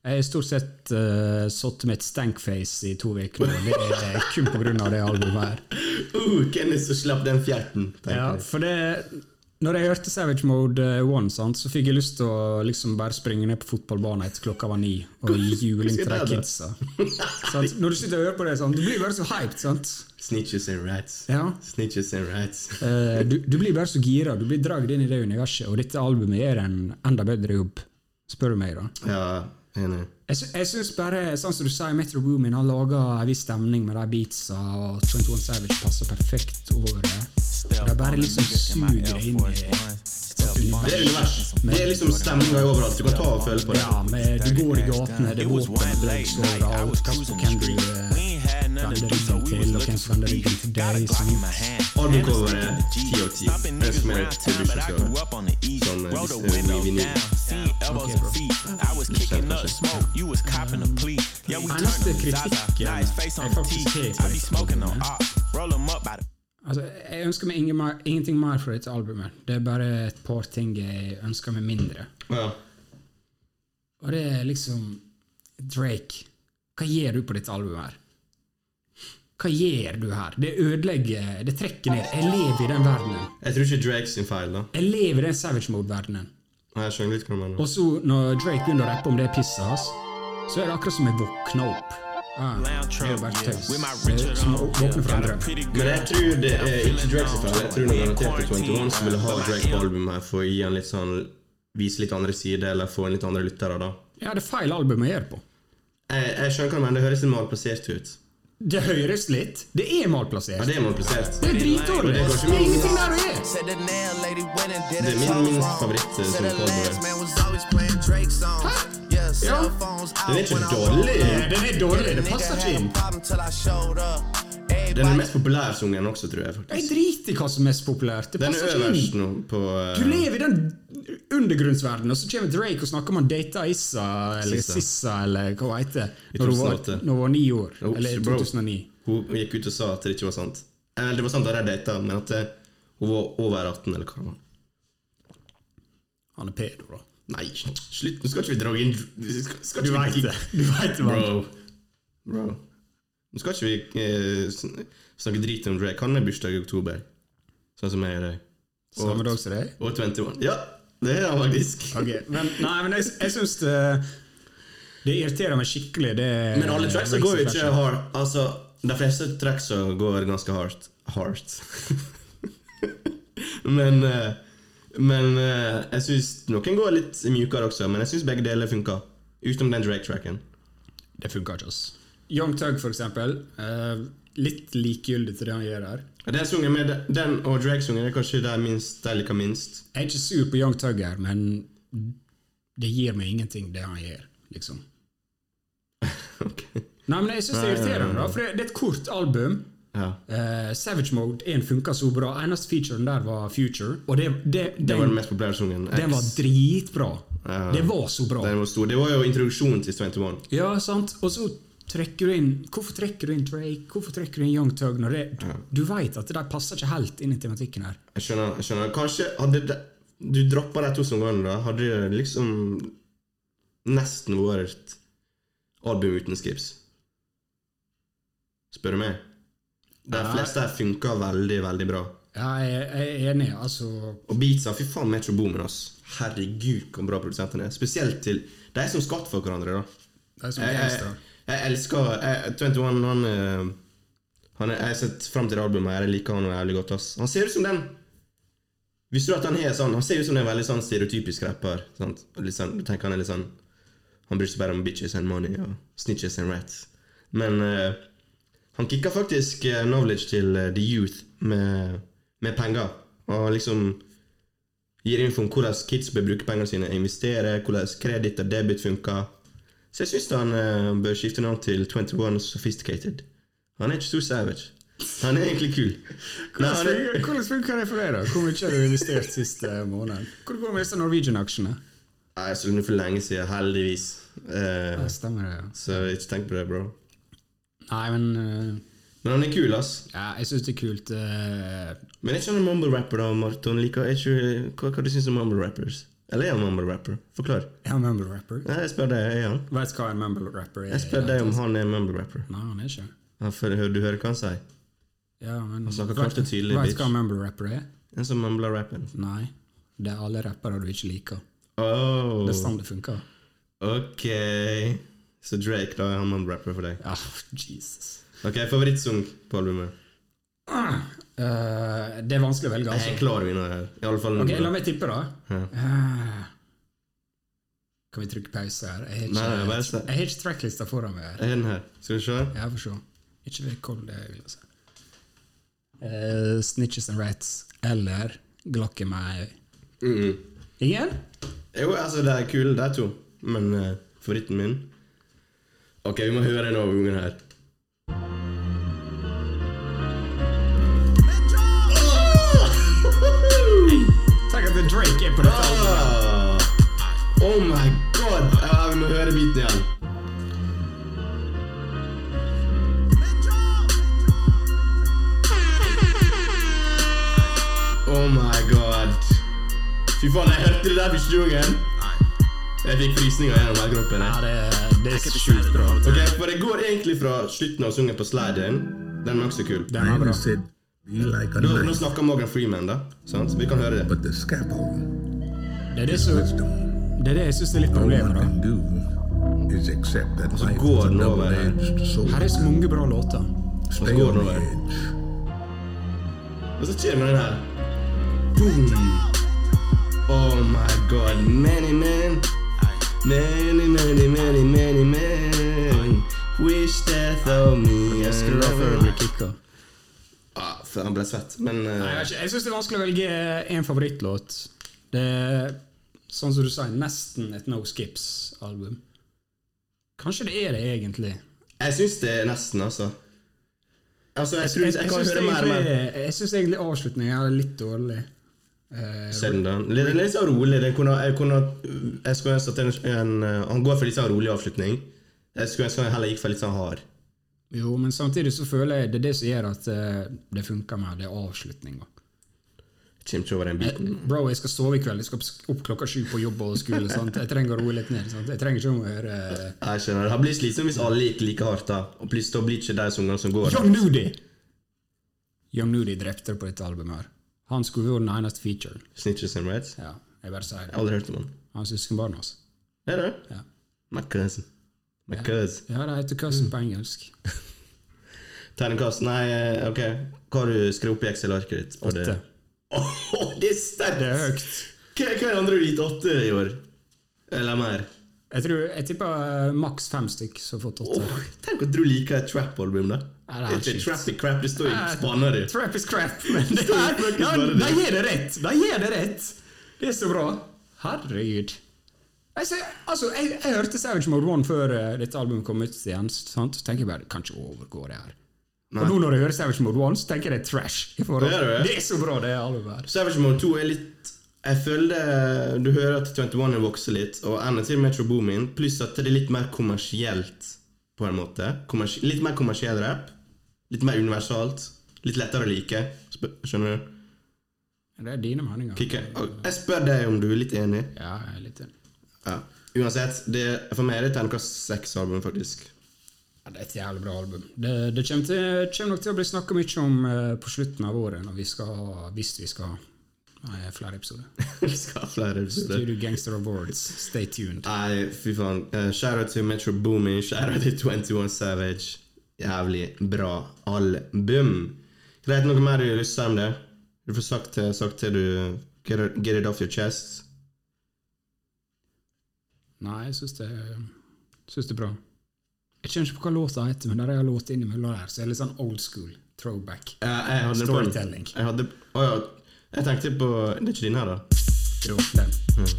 [SPEAKER 1] Jeg har stort sett uh, sittet med et stankface i to uker, og det er kun pga. det albumet her.
[SPEAKER 2] Uh, hvem er det som slapp den fjerten? tenker
[SPEAKER 1] Ja,
[SPEAKER 2] jeg.
[SPEAKER 1] for det Når jeg hørte Savage Mode 1, sant, så fikk jeg lyst til å liksom bare springe ned på fotballbanen etter klokka var ni og gi juling til de
[SPEAKER 2] Hvordan- hvordan
[SPEAKER 1] kidsa. Sant? Når du sitter og hører på det, sånn, du blir bare så hyped. sant?
[SPEAKER 2] Snitches and rats.
[SPEAKER 1] Ja.
[SPEAKER 2] Snitches and rats.
[SPEAKER 1] Eh, du, du blir bare så gira. Du blir dragd inn i det universet, og dette albumet gjør en enda bedre jobb, spør du meg. da.
[SPEAKER 2] Ja, enig.
[SPEAKER 1] Jeg, sy jeg syns bare, sånn som du sier, Metro Boomin har laga en viss stemning med de beatsa, og 21 Savage passer perfekt over det. De bare liksom suger det inn i et
[SPEAKER 2] Det er
[SPEAKER 1] univers.
[SPEAKER 2] univers. Det er liksom stemninga overalt. Du kan ta og føle på det.
[SPEAKER 1] Ja, men du går i gatene, det er våpen, drugslover, alt. Hva som kan du eh, vende ryggen til, og hvem som vender ryggen til deg? sant?
[SPEAKER 2] Albumcoveret 10 av 10. Jeg skal med til bursdagsgave. Som eh, hvis- eh, vi vinner.
[SPEAKER 1] Ok, bra. Nei, neste kritikk ja, er faktisk helt høyt. Altså, jeg ønsker meg ingen mer, ingenting mer fra dette albumet. Det er bare et par ting jeg ønsker meg mindre.
[SPEAKER 2] Ja.
[SPEAKER 1] Og det er liksom Drake, hva gjør du på dette albumet her? Hva gjør du her? Det ødelegger, det trekker ned. Jeg lever i den verdenen.
[SPEAKER 2] Jeg tror ikke Drake sin feil, da.
[SPEAKER 1] Jeg lever i den Savage Mode-verdenen.
[SPEAKER 2] Nei, Jeg skjønner litt hva du mener.
[SPEAKER 1] Og så, når Drake begynner å rappe om det pisset hans, så er det akkurat som jeg våkner opp. Ah, det er jo bare tøys. Det er som å våkne fra en drøm.
[SPEAKER 2] Men jeg tror det er ikke Drake sin feil. Jeg tror noen garantert det er 21 som ville ha Drake på albumet her for å gi han litt sånn Vise litt andre sider, eller få inn litt andre lyttere, da.
[SPEAKER 1] Ja, det er feil album å gjøre på.
[SPEAKER 2] Jeg, jeg skjønner hva du mener. Det høres litt malplassert ut.
[SPEAKER 1] Det høres litt. Det er
[SPEAKER 2] Ja,
[SPEAKER 1] malplassert.
[SPEAKER 2] det er malplassert.
[SPEAKER 1] Det er dritdårlig.
[SPEAKER 2] Det går ikke
[SPEAKER 1] Det er ingenting der å gjøre.
[SPEAKER 6] Said the nail lady went and did
[SPEAKER 2] Det
[SPEAKER 6] it
[SPEAKER 2] er min minst favoritt eh, som
[SPEAKER 6] Said the last
[SPEAKER 2] cover.
[SPEAKER 6] man was always playing Drake songs. Yeah, cell phones out
[SPEAKER 2] Den er ikke
[SPEAKER 6] when I
[SPEAKER 2] dårlig.
[SPEAKER 1] Den er dårlig. Det passer ikke inn.
[SPEAKER 6] problem till I showed up.
[SPEAKER 2] Den er den mest populære sungen også, tror jeg.
[SPEAKER 1] Jeg
[SPEAKER 2] faktisk.
[SPEAKER 1] driter i hva som er mest populært. Det
[SPEAKER 2] Den er
[SPEAKER 1] passer ikke
[SPEAKER 2] øverst
[SPEAKER 1] inn.
[SPEAKER 2] nå på eh,
[SPEAKER 1] Du lever i den undergrunnsverdenen, og så kommer Drake og snakker om han data Issa eller
[SPEAKER 2] Sissa.
[SPEAKER 1] Sissa eller hva hun heter, når hun var-
[SPEAKER 2] 2008.
[SPEAKER 1] når hun var ni år.
[SPEAKER 2] Oops,
[SPEAKER 1] Eller i
[SPEAKER 2] bro.
[SPEAKER 1] 2009.
[SPEAKER 2] Hun gikk ut og sa at det ikke var sant. Eller det var sant at de data, men at eh, hun var over 18, eller hva det var.
[SPEAKER 1] Han er pedo, da.
[SPEAKER 2] Nei, slutt! Nå skal ikke vi dra inn skal, skal
[SPEAKER 1] Du
[SPEAKER 2] ikke
[SPEAKER 1] veit
[SPEAKER 2] vi-
[SPEAKER 1] det. Du vet det, mann.
[SPEAKER 2] Bro. Bro. Nå skal ikke vi eh, sn- snakke drit om Drake. Han har bursdag i oktober, sånn som jeg gjør.
[SPEAKER 1] Samme dag som deg?
[SPEAKER 2] Og 21. Ja, det er han faktisk.
[SPEAKER 1] Ok, men, nei, men jeg, jeg syns det, det irriterer meg skikkelig. Det,
[SPEAKER 2] Men alle tracksa Eh, går jo ikke hardt. Altså, de fleste tracksa går ganske hardt. Hardt. *laughs* men eh, Men eh, jeg syns noen går litt mjukere også, men jeg syns begge deler funka. Utenom den Drake-tracken.
[SPEAKER 1] Det funker ikke, ass. Young Tug, for eksempel. eh, litt likegyldig til det han gjør her.
[SPEAKER 2] Den, sungen med, den og Drake-sungen er kanskje de minst, de jeg liker minst. *laughs*
[SPEAKER 1] Jeg er ikke sur på Young Tug her, men det gir meg ingenting, det han gjør, liksom.
[SPEAKER 2] Ok.
[SPEAKER 1] Nei, men jeg syns det er irriterende, da, for det det er et kort album.
[SPEAKER 2] Ja.
[SPEAKER 1] Eh, Savage Mode 1 funka så bra. Eneste featuren der var Future, og det, det,
[SPEAKER 2] Det var
[SPEAKER 1] den,
[SPEAKER 2] den mest populære sungen. X.
[SPEAKER 1] den var dritbra.
[SPEAKER 2] Ja.
[SPEAKER 1] Det var så bra.
[SPEAKER 2] Den var stor. Det var jo introduksjonen til 21.
[SPEAKER 1] Ja, sant. Og så trekker du inn Hvorfor trekker du inn Drake? Hvorfor trekker du inn Young Tug? Når det, du, du veit at det der passer ikke helt inn i tematikken her.
[SPEAKER 2] Jeg skjønner. jeg skjønner. Kanskje hadde de, du droppa de to sangene, da hadde det liksom nesten vært album uten skips. spør du meg. De fleste her funka veldig, veldig bra.
[SPEAKER 1] Ja, jeg, jeg er enig. Altså
[SPEAKER 2] Og beatsa, fy faen, Metro Boomin, ass. Herregud, hvor bra produsentene er. Spesielt til de som skatt for hverandre, da.
[SPEAKER 1] det er som
[SPEAKER 2] Jeg, jeg,
[SPEAKER 1] gangster.
[SPEAKER 2] jeg elsker jeg, 21, han, eh, han er, Jeg har sett fram til det albumet. her, Jeg liker han jævlig godt. ass Han ser ut som den Visste du at han er sånn Han ser ut som en veldig sånn stereotypisk rapper. Sant? Og Litt sånn, du tenker Han er litt sånn Han bryr seg bare om bitches and money og snitches and rats. Men eh, han kicka faktisk eh, knowledge til eh, the youth med, med penger. Og liksom gir info om hvordan kids bør bruke pengene sine, investere, hvordan kreditt og debit funker. Så jeg syns han eh, bør skifte navn til 21 Sophisticated. Han er ikke så savage. Han er egentlig kul. Nei, han er,
[SPEAKER 1] *laughs* Hvordan funker det for deg, da? Hvor mye har du investert siste måneden? Hvor går det med disse Norwegian-aksjene?
[SPEAKER 2] nei, jeg sluttet for lenge siden, heldigvis. Eh,
[SPEAKER 1] Ja, Stemmer det, ja.
[SPEAKER 2] så ikke tenk på det, bro.
[SPEAKER 1] Nei, men eh,
[SPEAKER 2] Men han er kul, ass.
[SPEAKER 1] ja, jeg syns det er kult. eh,
[SPEAKER 2] Men er ikke han en mumble-rapper, da, Marton? Liker, er ikke, hva, hva du syns om mumble-rappers? Eller er han mumble-rapper? Forklar.
[SPEAKER 1] er han mumble-rapper?
[SPEAKER 2] Nei, jeg spør deg, er han?
[SPEAKER 1] Vet hva en mumble-rapper er?
[SPEAKER 2] Jeg spør deg om han er mumble-rapper.
[SPEAKER 1] Nei, han er ikke.
[SPEAKER 2] Ja, for- hør- Du hører hva han sier?
[SPEAKER 1] Ja, men
[SPEAKER 2] snakker klart og tydelig,
[SPEAKER 1] Vet
[SPEAKER 2] bitch.
[SPEAKER 1] hva en mumble-rapper er?
[SPEAKER 2] En som mumler rappen.
[SPEAKER 1] Nei. Det er alle rappere du ikke liker.
[SPEAKER 2] Oh,
[SPEAKER 1] Det er sånn det funker.
[SPEAKER 2] ok. Så Drake, da er han mumble-rapper for deg?
[SPEAKER 1] Ja, Jesus.
[SPEAKER 2] Ok, favorittsang på albumet.
[SPEAKER 1] Eh, det er vanskelig å velge,
[SPEAKER 2] Jeg er
[SPEAKER 1] altså.
[SPEAKER 2] en klar vinner her. I alle fall
[SPEAKER 1] Ok,
[SPEAKER 2] nå.
[SPEAKER 1] la meg tippe, da.
[SPEAKER 2] Ja.
[SPEAKER 1] Eh, Kan vi trykke pause her? Jeg har ikke,
[SPEAKER 2] Nei, nei, bare se.
[SPEAKER 1] jeg har ikke tracklista foran meg her.
[SPEAKER 2] Er den her? Skal vi se?
[SPEAKER 1] Ja, får se. Ikke vet hvor det vil jeg si. Eh, snitches and rats eller Glock i meg.
[SPEAKER 2] Mm -mm.
[SPEAKER 1] Ingen?
[SPEAKER 2] Jo, altså, det er kule, de to. Men eh, favoritten min Ok, vi må høre den overgangen
[SPEAKER 1] *laughs*
[SPEAKER 2] her.
[SPEAKER 1] Tenk at det er Drake er på dette.
[SPEAKER 2] Ah! Oh my god! Ja, vi må høre biten igjen. Oh my god. Fy faen, jeg hørte det der første gangen. Jeg fikk frysninger gjennom hele kroppen. jeg.
[SPEAKER 1] Ja, det, det er sjukt bra.
[SPEAKER 2] Ok, For det går egentlig fra slutten av sangen på sliden. Den er også kul.
[SPEAKER 1] Den er bra.
[SPEAKER 8] said, be like a
[SPEAKER 2] Nå, nå
[SPEAKER 8] knife,
[SPEAKER 2] snakker Morgan Freeman, da. Sant? Vi kan høre det.
[SPEAKER 8] but the scaffold
[SPEAKER 1] Det er det, som,
[SPEAKER 8] is doomed.
[SPEAKER 1] det, er det jeg syns er litt
[SPEAKER 8] All
[SPEAKER 1] problemet,
[SPEAKER 8] one
[SPEAKER 1] da.
[SPEAKER 8] can do is accept that life is
[SPEAKER 2] God,
[SPEAKER 8] a
[SPEAKER 2] no, man.
[SPEAKER 8] double-edged
[SPEAKER 1] Her
[SPEAKER 8] sword.
[SPEAKER 1] er så mange bra låter.
[SPEAKER 8] Stay
[SPEAKER 2] God,
[SPEAKER 8] on
[SPEAKER 2] no,
[SPEAKER 8] the
[SPEAKER 2] man.
[SPEAKER 8] edge.
[SPEAKER 2] Og så kommer den her. Boom. Oh my god. Many men. Many, many, many, many men. Wish death on me.
[SPEAKER 1] Jeg skrur av før det blir kicka.
[SPEAKER 2] Ah, faen, han ble svett. Men
[SPEAKER 1] Nei,
[SPEAKER 2] eh,
[SPEAKER 1] Jeg, vet ikke. jeg syns det er vanskelig å velge én favorittlåt. Det er, sånn som du sa, nesten et No Skips-album. Kanskje det er det, egentlig.
[SPEAKER 2] jeg syns det er nesten, altså. Altså, jeg, tror,
[SPEAKER 1] Jeg,
[SPEAKER 2] jeg,
[SPEAKER 1] jeg,
[SPEAKER 2] kan
[SPEAKER 1] syns
[SPEAKER 2] høre mer, men
[SPEAKER 1] egentlig, jeg syns egentlig avslutningen er litt dårlig. Eh,
[SPEAKER 2] Send den. Litt, litt sånn rolig. Den kunne, jeg kunne Jeg skulle ønske at en, en eh, Han går for litt sånn rolig avslutning. Jeg skulle ønske han heller gikk for litt sånn hard.
[SPEAKER 1] jo, men samtidig så føler jeg det er det som gjør at eh, det funker med det er avslutninga.
[SPEAKER 2] Kommer ikke over den
[SPEAKER 1] Jeg-
[SPEAKER 2] biten.
[SPEAKER 1] Bro, jeg skal sove i kveld. Jeg skal opp- opp klokka sju på jobb og skole. Sant? Jeg trenger å roe litt ned. Sant? Jeg trenger ikke å høre eh,
[SPEAKER 2] Jeg skjønner. Det blir slitsomt hvis alle gikk like hardt. da Og plutselig da blir ikke de sangene som går.
[SPEAKER 1] Young Nudy! Young Nudy drepte det på dette albumet. her. Han skulle vært den eneste featuren.
[SPEAKER 2] Snitches and Rats. Jeg
[SPEAKER 1] Ja, jeg bare sier
[SPEAKER 2] har
[SPEAKER 1] det.
[SPEAKER 2] aldri hørt om han.
[SPEAKER 1] Han er søskenbarnet hans.
[SPEAKER 2] Er det?
[SPEAKER 1] Ja.
[SPEAKER 2] My cousin. My cousin.
[SPEAKER 1] Ja, det heter cousin
[SPEAKER 2] Mm.
[SPEAKER 1] på engelsk.
[SPEAKER 2] Terningkast Nei, eh, ok. Hva har du skrevet opp i Excel-arket ditt? på det?
[SPEAKER 1] Åtte.
[SPEAKER 2] *laughs* Åh, det er sterkt!
[SPEAKER 1] Det er høyt.
[SPEAKER 2] Hva hva er det andre du har gitt åtte i år? Eller mer?
[SPEAKER 1] Jeg tror, jeg tipper eh, maks fem stykk som har fått åtte.
[SPEAKER 2] Åh, tenk at du liker et trap-album, da.
[SPEAKER 1] Ja, det er
[SPEAKER 2] ikke
[SPEAKER 1] sjukt.
[SPEAKER 2] trappy crap, det står i
[SPEAKER 1] Eh,
[SPEAKER 2] spanna di.
[SPEAKER 1] Trap is crap,
[SPEAKER 2] *laughs*
[SPEAKER 1] men det
[SPEAKER 2] Står
[SPEAKER 1] er,
[SPEAKER 2] faktisk
[SPEAKER 1] ja,
[SPEAKER 2] bare det.
[SPEAKER 1] de gir det rett! De gir det rett! Det er så bra. Herregud. Jeg, ser, altså, jeg, jeg hørte Savage Mode 1 før eh, dette albumet kom ut igjen, sant? så tenker jeg bare kanskje overgå det her. Og nå når jeg hører Savage Mode 1, så tenker jeg det er trash. I forhold.
[SPEAKER 2] Det er det.
[SPEAKER 1] det er så bra, det albumet her.
[SPEAKER 2] Savage Mode 2 er litt Jeg føler du hører at 21 er vokser litt, og ender til Metro Boomin, pluss at det er litt mer kommersielt, på en måte. Kommers litt mer kommersiell rap. Litt mer universalt. Litt lettere å like. Sp skjønner du?
[SPEAKER 1] Det er dine meninger.
[SPEAKER 2] Kikke. Og Jeg spør deg om du er litt enig.
[SPEAKER 1] Ja, jeg er litt enig.
[SPEAKER 2] Ja. Uansett, det, for meg er det et terningkast seks-album, faktisk. *laughs*
[SPEAKER 1] Ja, det er et jævlig bra album. Det, det kommer, til, kommer nok til å bli snakka mye om eh, på slutten av året, når vi skal ha, hvis vi skal ha eh, flere episoder.
[SPEAKER 2] Vi skal ha flere episoder.
[SPEAKER 1] Studio Gangster Awards, stay tuned.
[SPEAKER 2] Nei, fy faen. Eh, Shout-out til Metro Boomin, shout-out til 21 Savage. Jævlig bra album. Greit, noe mer du har lyst til å si om det? Du får sagt, eh, sagt til du get it, get it off your chest.
[SPEAKER 1] Nei, jeg syns det, syns det er bra. Jeg kjenner ikke på hva låta heter, men der er en låt innimellom der, så det er litt sånn old school. Throwback.
[SPEAKER 2] Eh, jeg hadde den på-
[SPEAKER 1] Storytelling.
[SPEAKER 2] Jeg hadde Å ja. Jeg tenkte på Det er ikke din her, da?
[SPEAKER 1] Jo, den.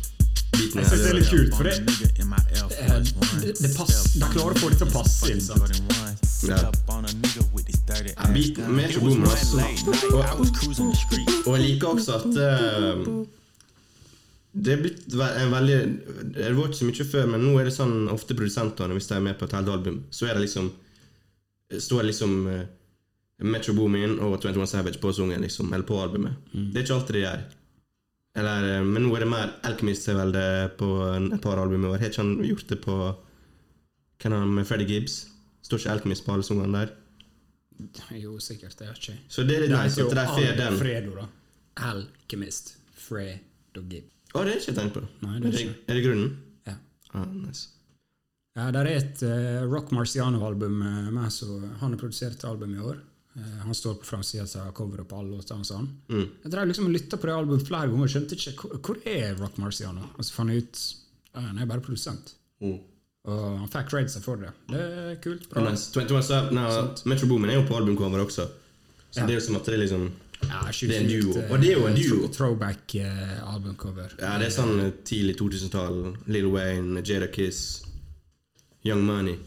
[SPEAKER 2] Biten
[SPEAKER 1] Jeg syns det er litt kult, for det
[SPEAKER 6] Eh,
[SPEAKER 1] det- det pass- de klarer å få det til å passe inn, sant?
[SPEAKER 2] Ja. Ja, Biten med Metro Boomin, altså. Og, og jeg liker også at eh, det er blitt ve- en veldig Det var ikke så mye før, men nå er det sånn ofte produsentene, hvis de er med på et helt album, så er det liksom står liksom eh, Metro Boomin og 21 Savage på sungen, liksom, eller på albumet. Det er ikke alltid de gjør. Eller, eh, men nå er det mer Alkymist er vel det på en- et par album i år. Har ikke han gjort det på Hvem er han med Freddie Gibbs? Står ikke Alkymist på alle sungene der?
[SPEAKER 1] Jo, sikkert. Det er ikke
[SPEAKER 2] Så det er litt nice at de får den.
[SPEAKER 1] Fredo, da. Alkymist. Fredo Gibb.
[SPEAKER 2] Å, det har jeg ikke tenkt på.
[SPEAKER 1] Nei, det er
[SPEAKER 2] er, det, er det grunnen?
[SPEAKER 1] Ja.
[SPEAKER 2] Ah, nice.
[SPEAKER 1] Ja, der er et eh, Rock Marciano-album eh, med, så han har produsert album i år. Eh, han står på framsida av coveret på alle låtene og sånn.
[SPEAKER 2] Mm.
[SPEAKER 1] Jeg drev liksom og lytta på det albumet flere ganger og skjønte ikke hvor, hvor er Rock Marciano Og så fant jeg ut ja, han er bare produsent. Og han fikk raidsa for det. Det er kult.
[SPEAKER 2] Ah,
[SPEAKER 1] Bra.
[SPEAKER 2] nice. 21 Sav- nei, Metro Boomin er jo på albumcover også, så
[SPEAKER 1] Ja.
[SPEAKER 2] det er jo som at det er liksom
[SPEAKER 1] Ja,
[SPEAKER 2] Det er en duo.
[SPEAKER 1] eh,
[SPEAKER 2] Og det er jo en duo.
[SPEAKER 1] Throwback eh, albumcover.
[SPEAKER 2] Ja, det er sånn tidlig 2000-tall. Lil Wayne, Jada Kiss, Young Money,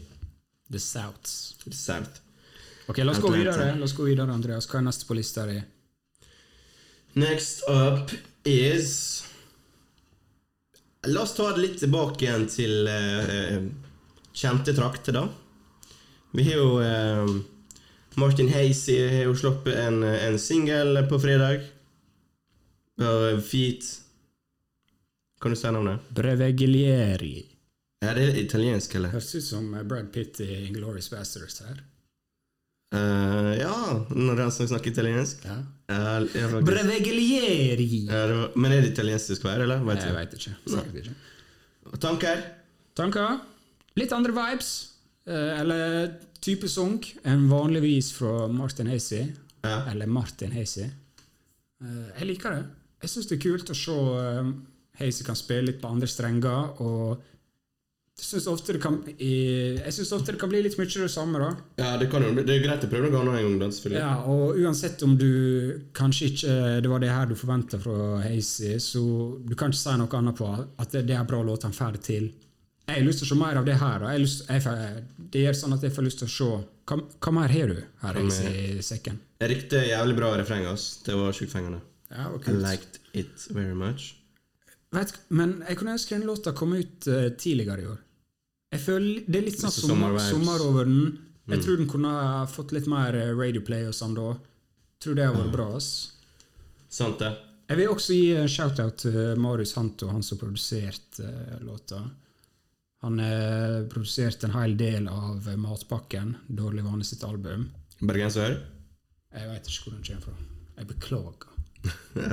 [SPEAKER 1] The Souths.
[SPEAKER 2] South.
[SPEAKER 1] Ok, la oss gå
[SPEAKER 2] Atlanta.
[SPEAKER 1] videre, la oss gå videre, Andreas. Hva er neste på lista di?
[SPEAKER 2] Next up is La oss ta det litt tilbake igjen til eh, eh, kjente trakter, da. Vi har jo eh, Martin Hazy har jo sluppet en, en singel på fredag. Uh, Feet Kan du si navnet?
[SPEAKER 1] Breveglieri.
[SPEAKER 2] Er det italiensk, eller?
[SPEAKER 1] Høres ut som eh, Brad Pitt i Inglourious Basterds her.
[SPEAKER 2] Eh, ja, når han som snakker italiensk.
[SPEAKER 1] Ja.
[SPEAKER 2] Ja, jeg var-
[SPEAKER 1] Breveglieri!
[SPEAKER 2] Ja, det var- men er det italiensk det skal være, eller? Vet
[SPEAKER 1] Jeg
[SPEAKER 2] du?
[SPEAKER 1] veit ikke. Sikkert ikke.
[SPEAKER 2] Tanker?
[SPEAKER 1] Tanker? Litt andre vibes. eh, Eller type sang enn vanligvis fra Martin Hazy.
[SPEAKER 2] Ja.
[SPEAKER 1] Eller Martin Hazy. Eh, Jeg liker det. Jeg syns det er kult å se eh, Hazy kan spille litt på andre strenger. og jeg syns ofte, det kan- i- jeg synes ofte det kan bli litt mye det samme. da.
[SPEAKER 2] Ja, det, kan jo, bli- det er greit å prøve noe annet en gang, da, selvfølgelig.
[SPEAKER 1] Ja, og uansett om du kanskje ikke eh, Det var det her du forventa fra Hazy, så du kan ikke si noe annet på at det, det er bra låt han får det til. Jeg har lyst til å se mer av det her. da. Jeg har lyst, jeg får, det gjør sånn at jeg får lyst til å se Hva, hva mer har du her Hazy, i sekken?
[SPEAKER 2] Jeg likte jævlig bra refreng, ass. Det var sjukt fengende.
[SPEAKER 1] Ja, det var
[SPEAKER 2] I
[SPEAKER 1] kult.
[SPEAKER 2] liked it very much.
[SPEAKER 1] Vet, du- men jeg kunne ønske den låta kom ut eh, tidligere i år. Jeg føler Det er litt sånn
[SPEAKER 2] Litt
[SPEAKER 1] sommer,
[SPEAKER 2] sommervibes.
[SPEAKER 1] sommer over den. Jeg tror den kunne ha fått litt mer eh, radioplay og sånn da. Tror det har vært bra. ass.
[SPEAKER 2] Sant det?
[SPEAKER 1] Jeg vil også gi en shout-out til Marius Hanto, han som produserte eh, låta. Han eh, produserte en hel del av eh, Matpakken, Dårlig vane sitt album.
[SPEAKER 2] Bergenser?
[SPEAKER 1] Jeg veit ikke hvor den kommer fra. Jeg
[SPEAKER 2] *laughs*
[SPEAKER 1] beklager.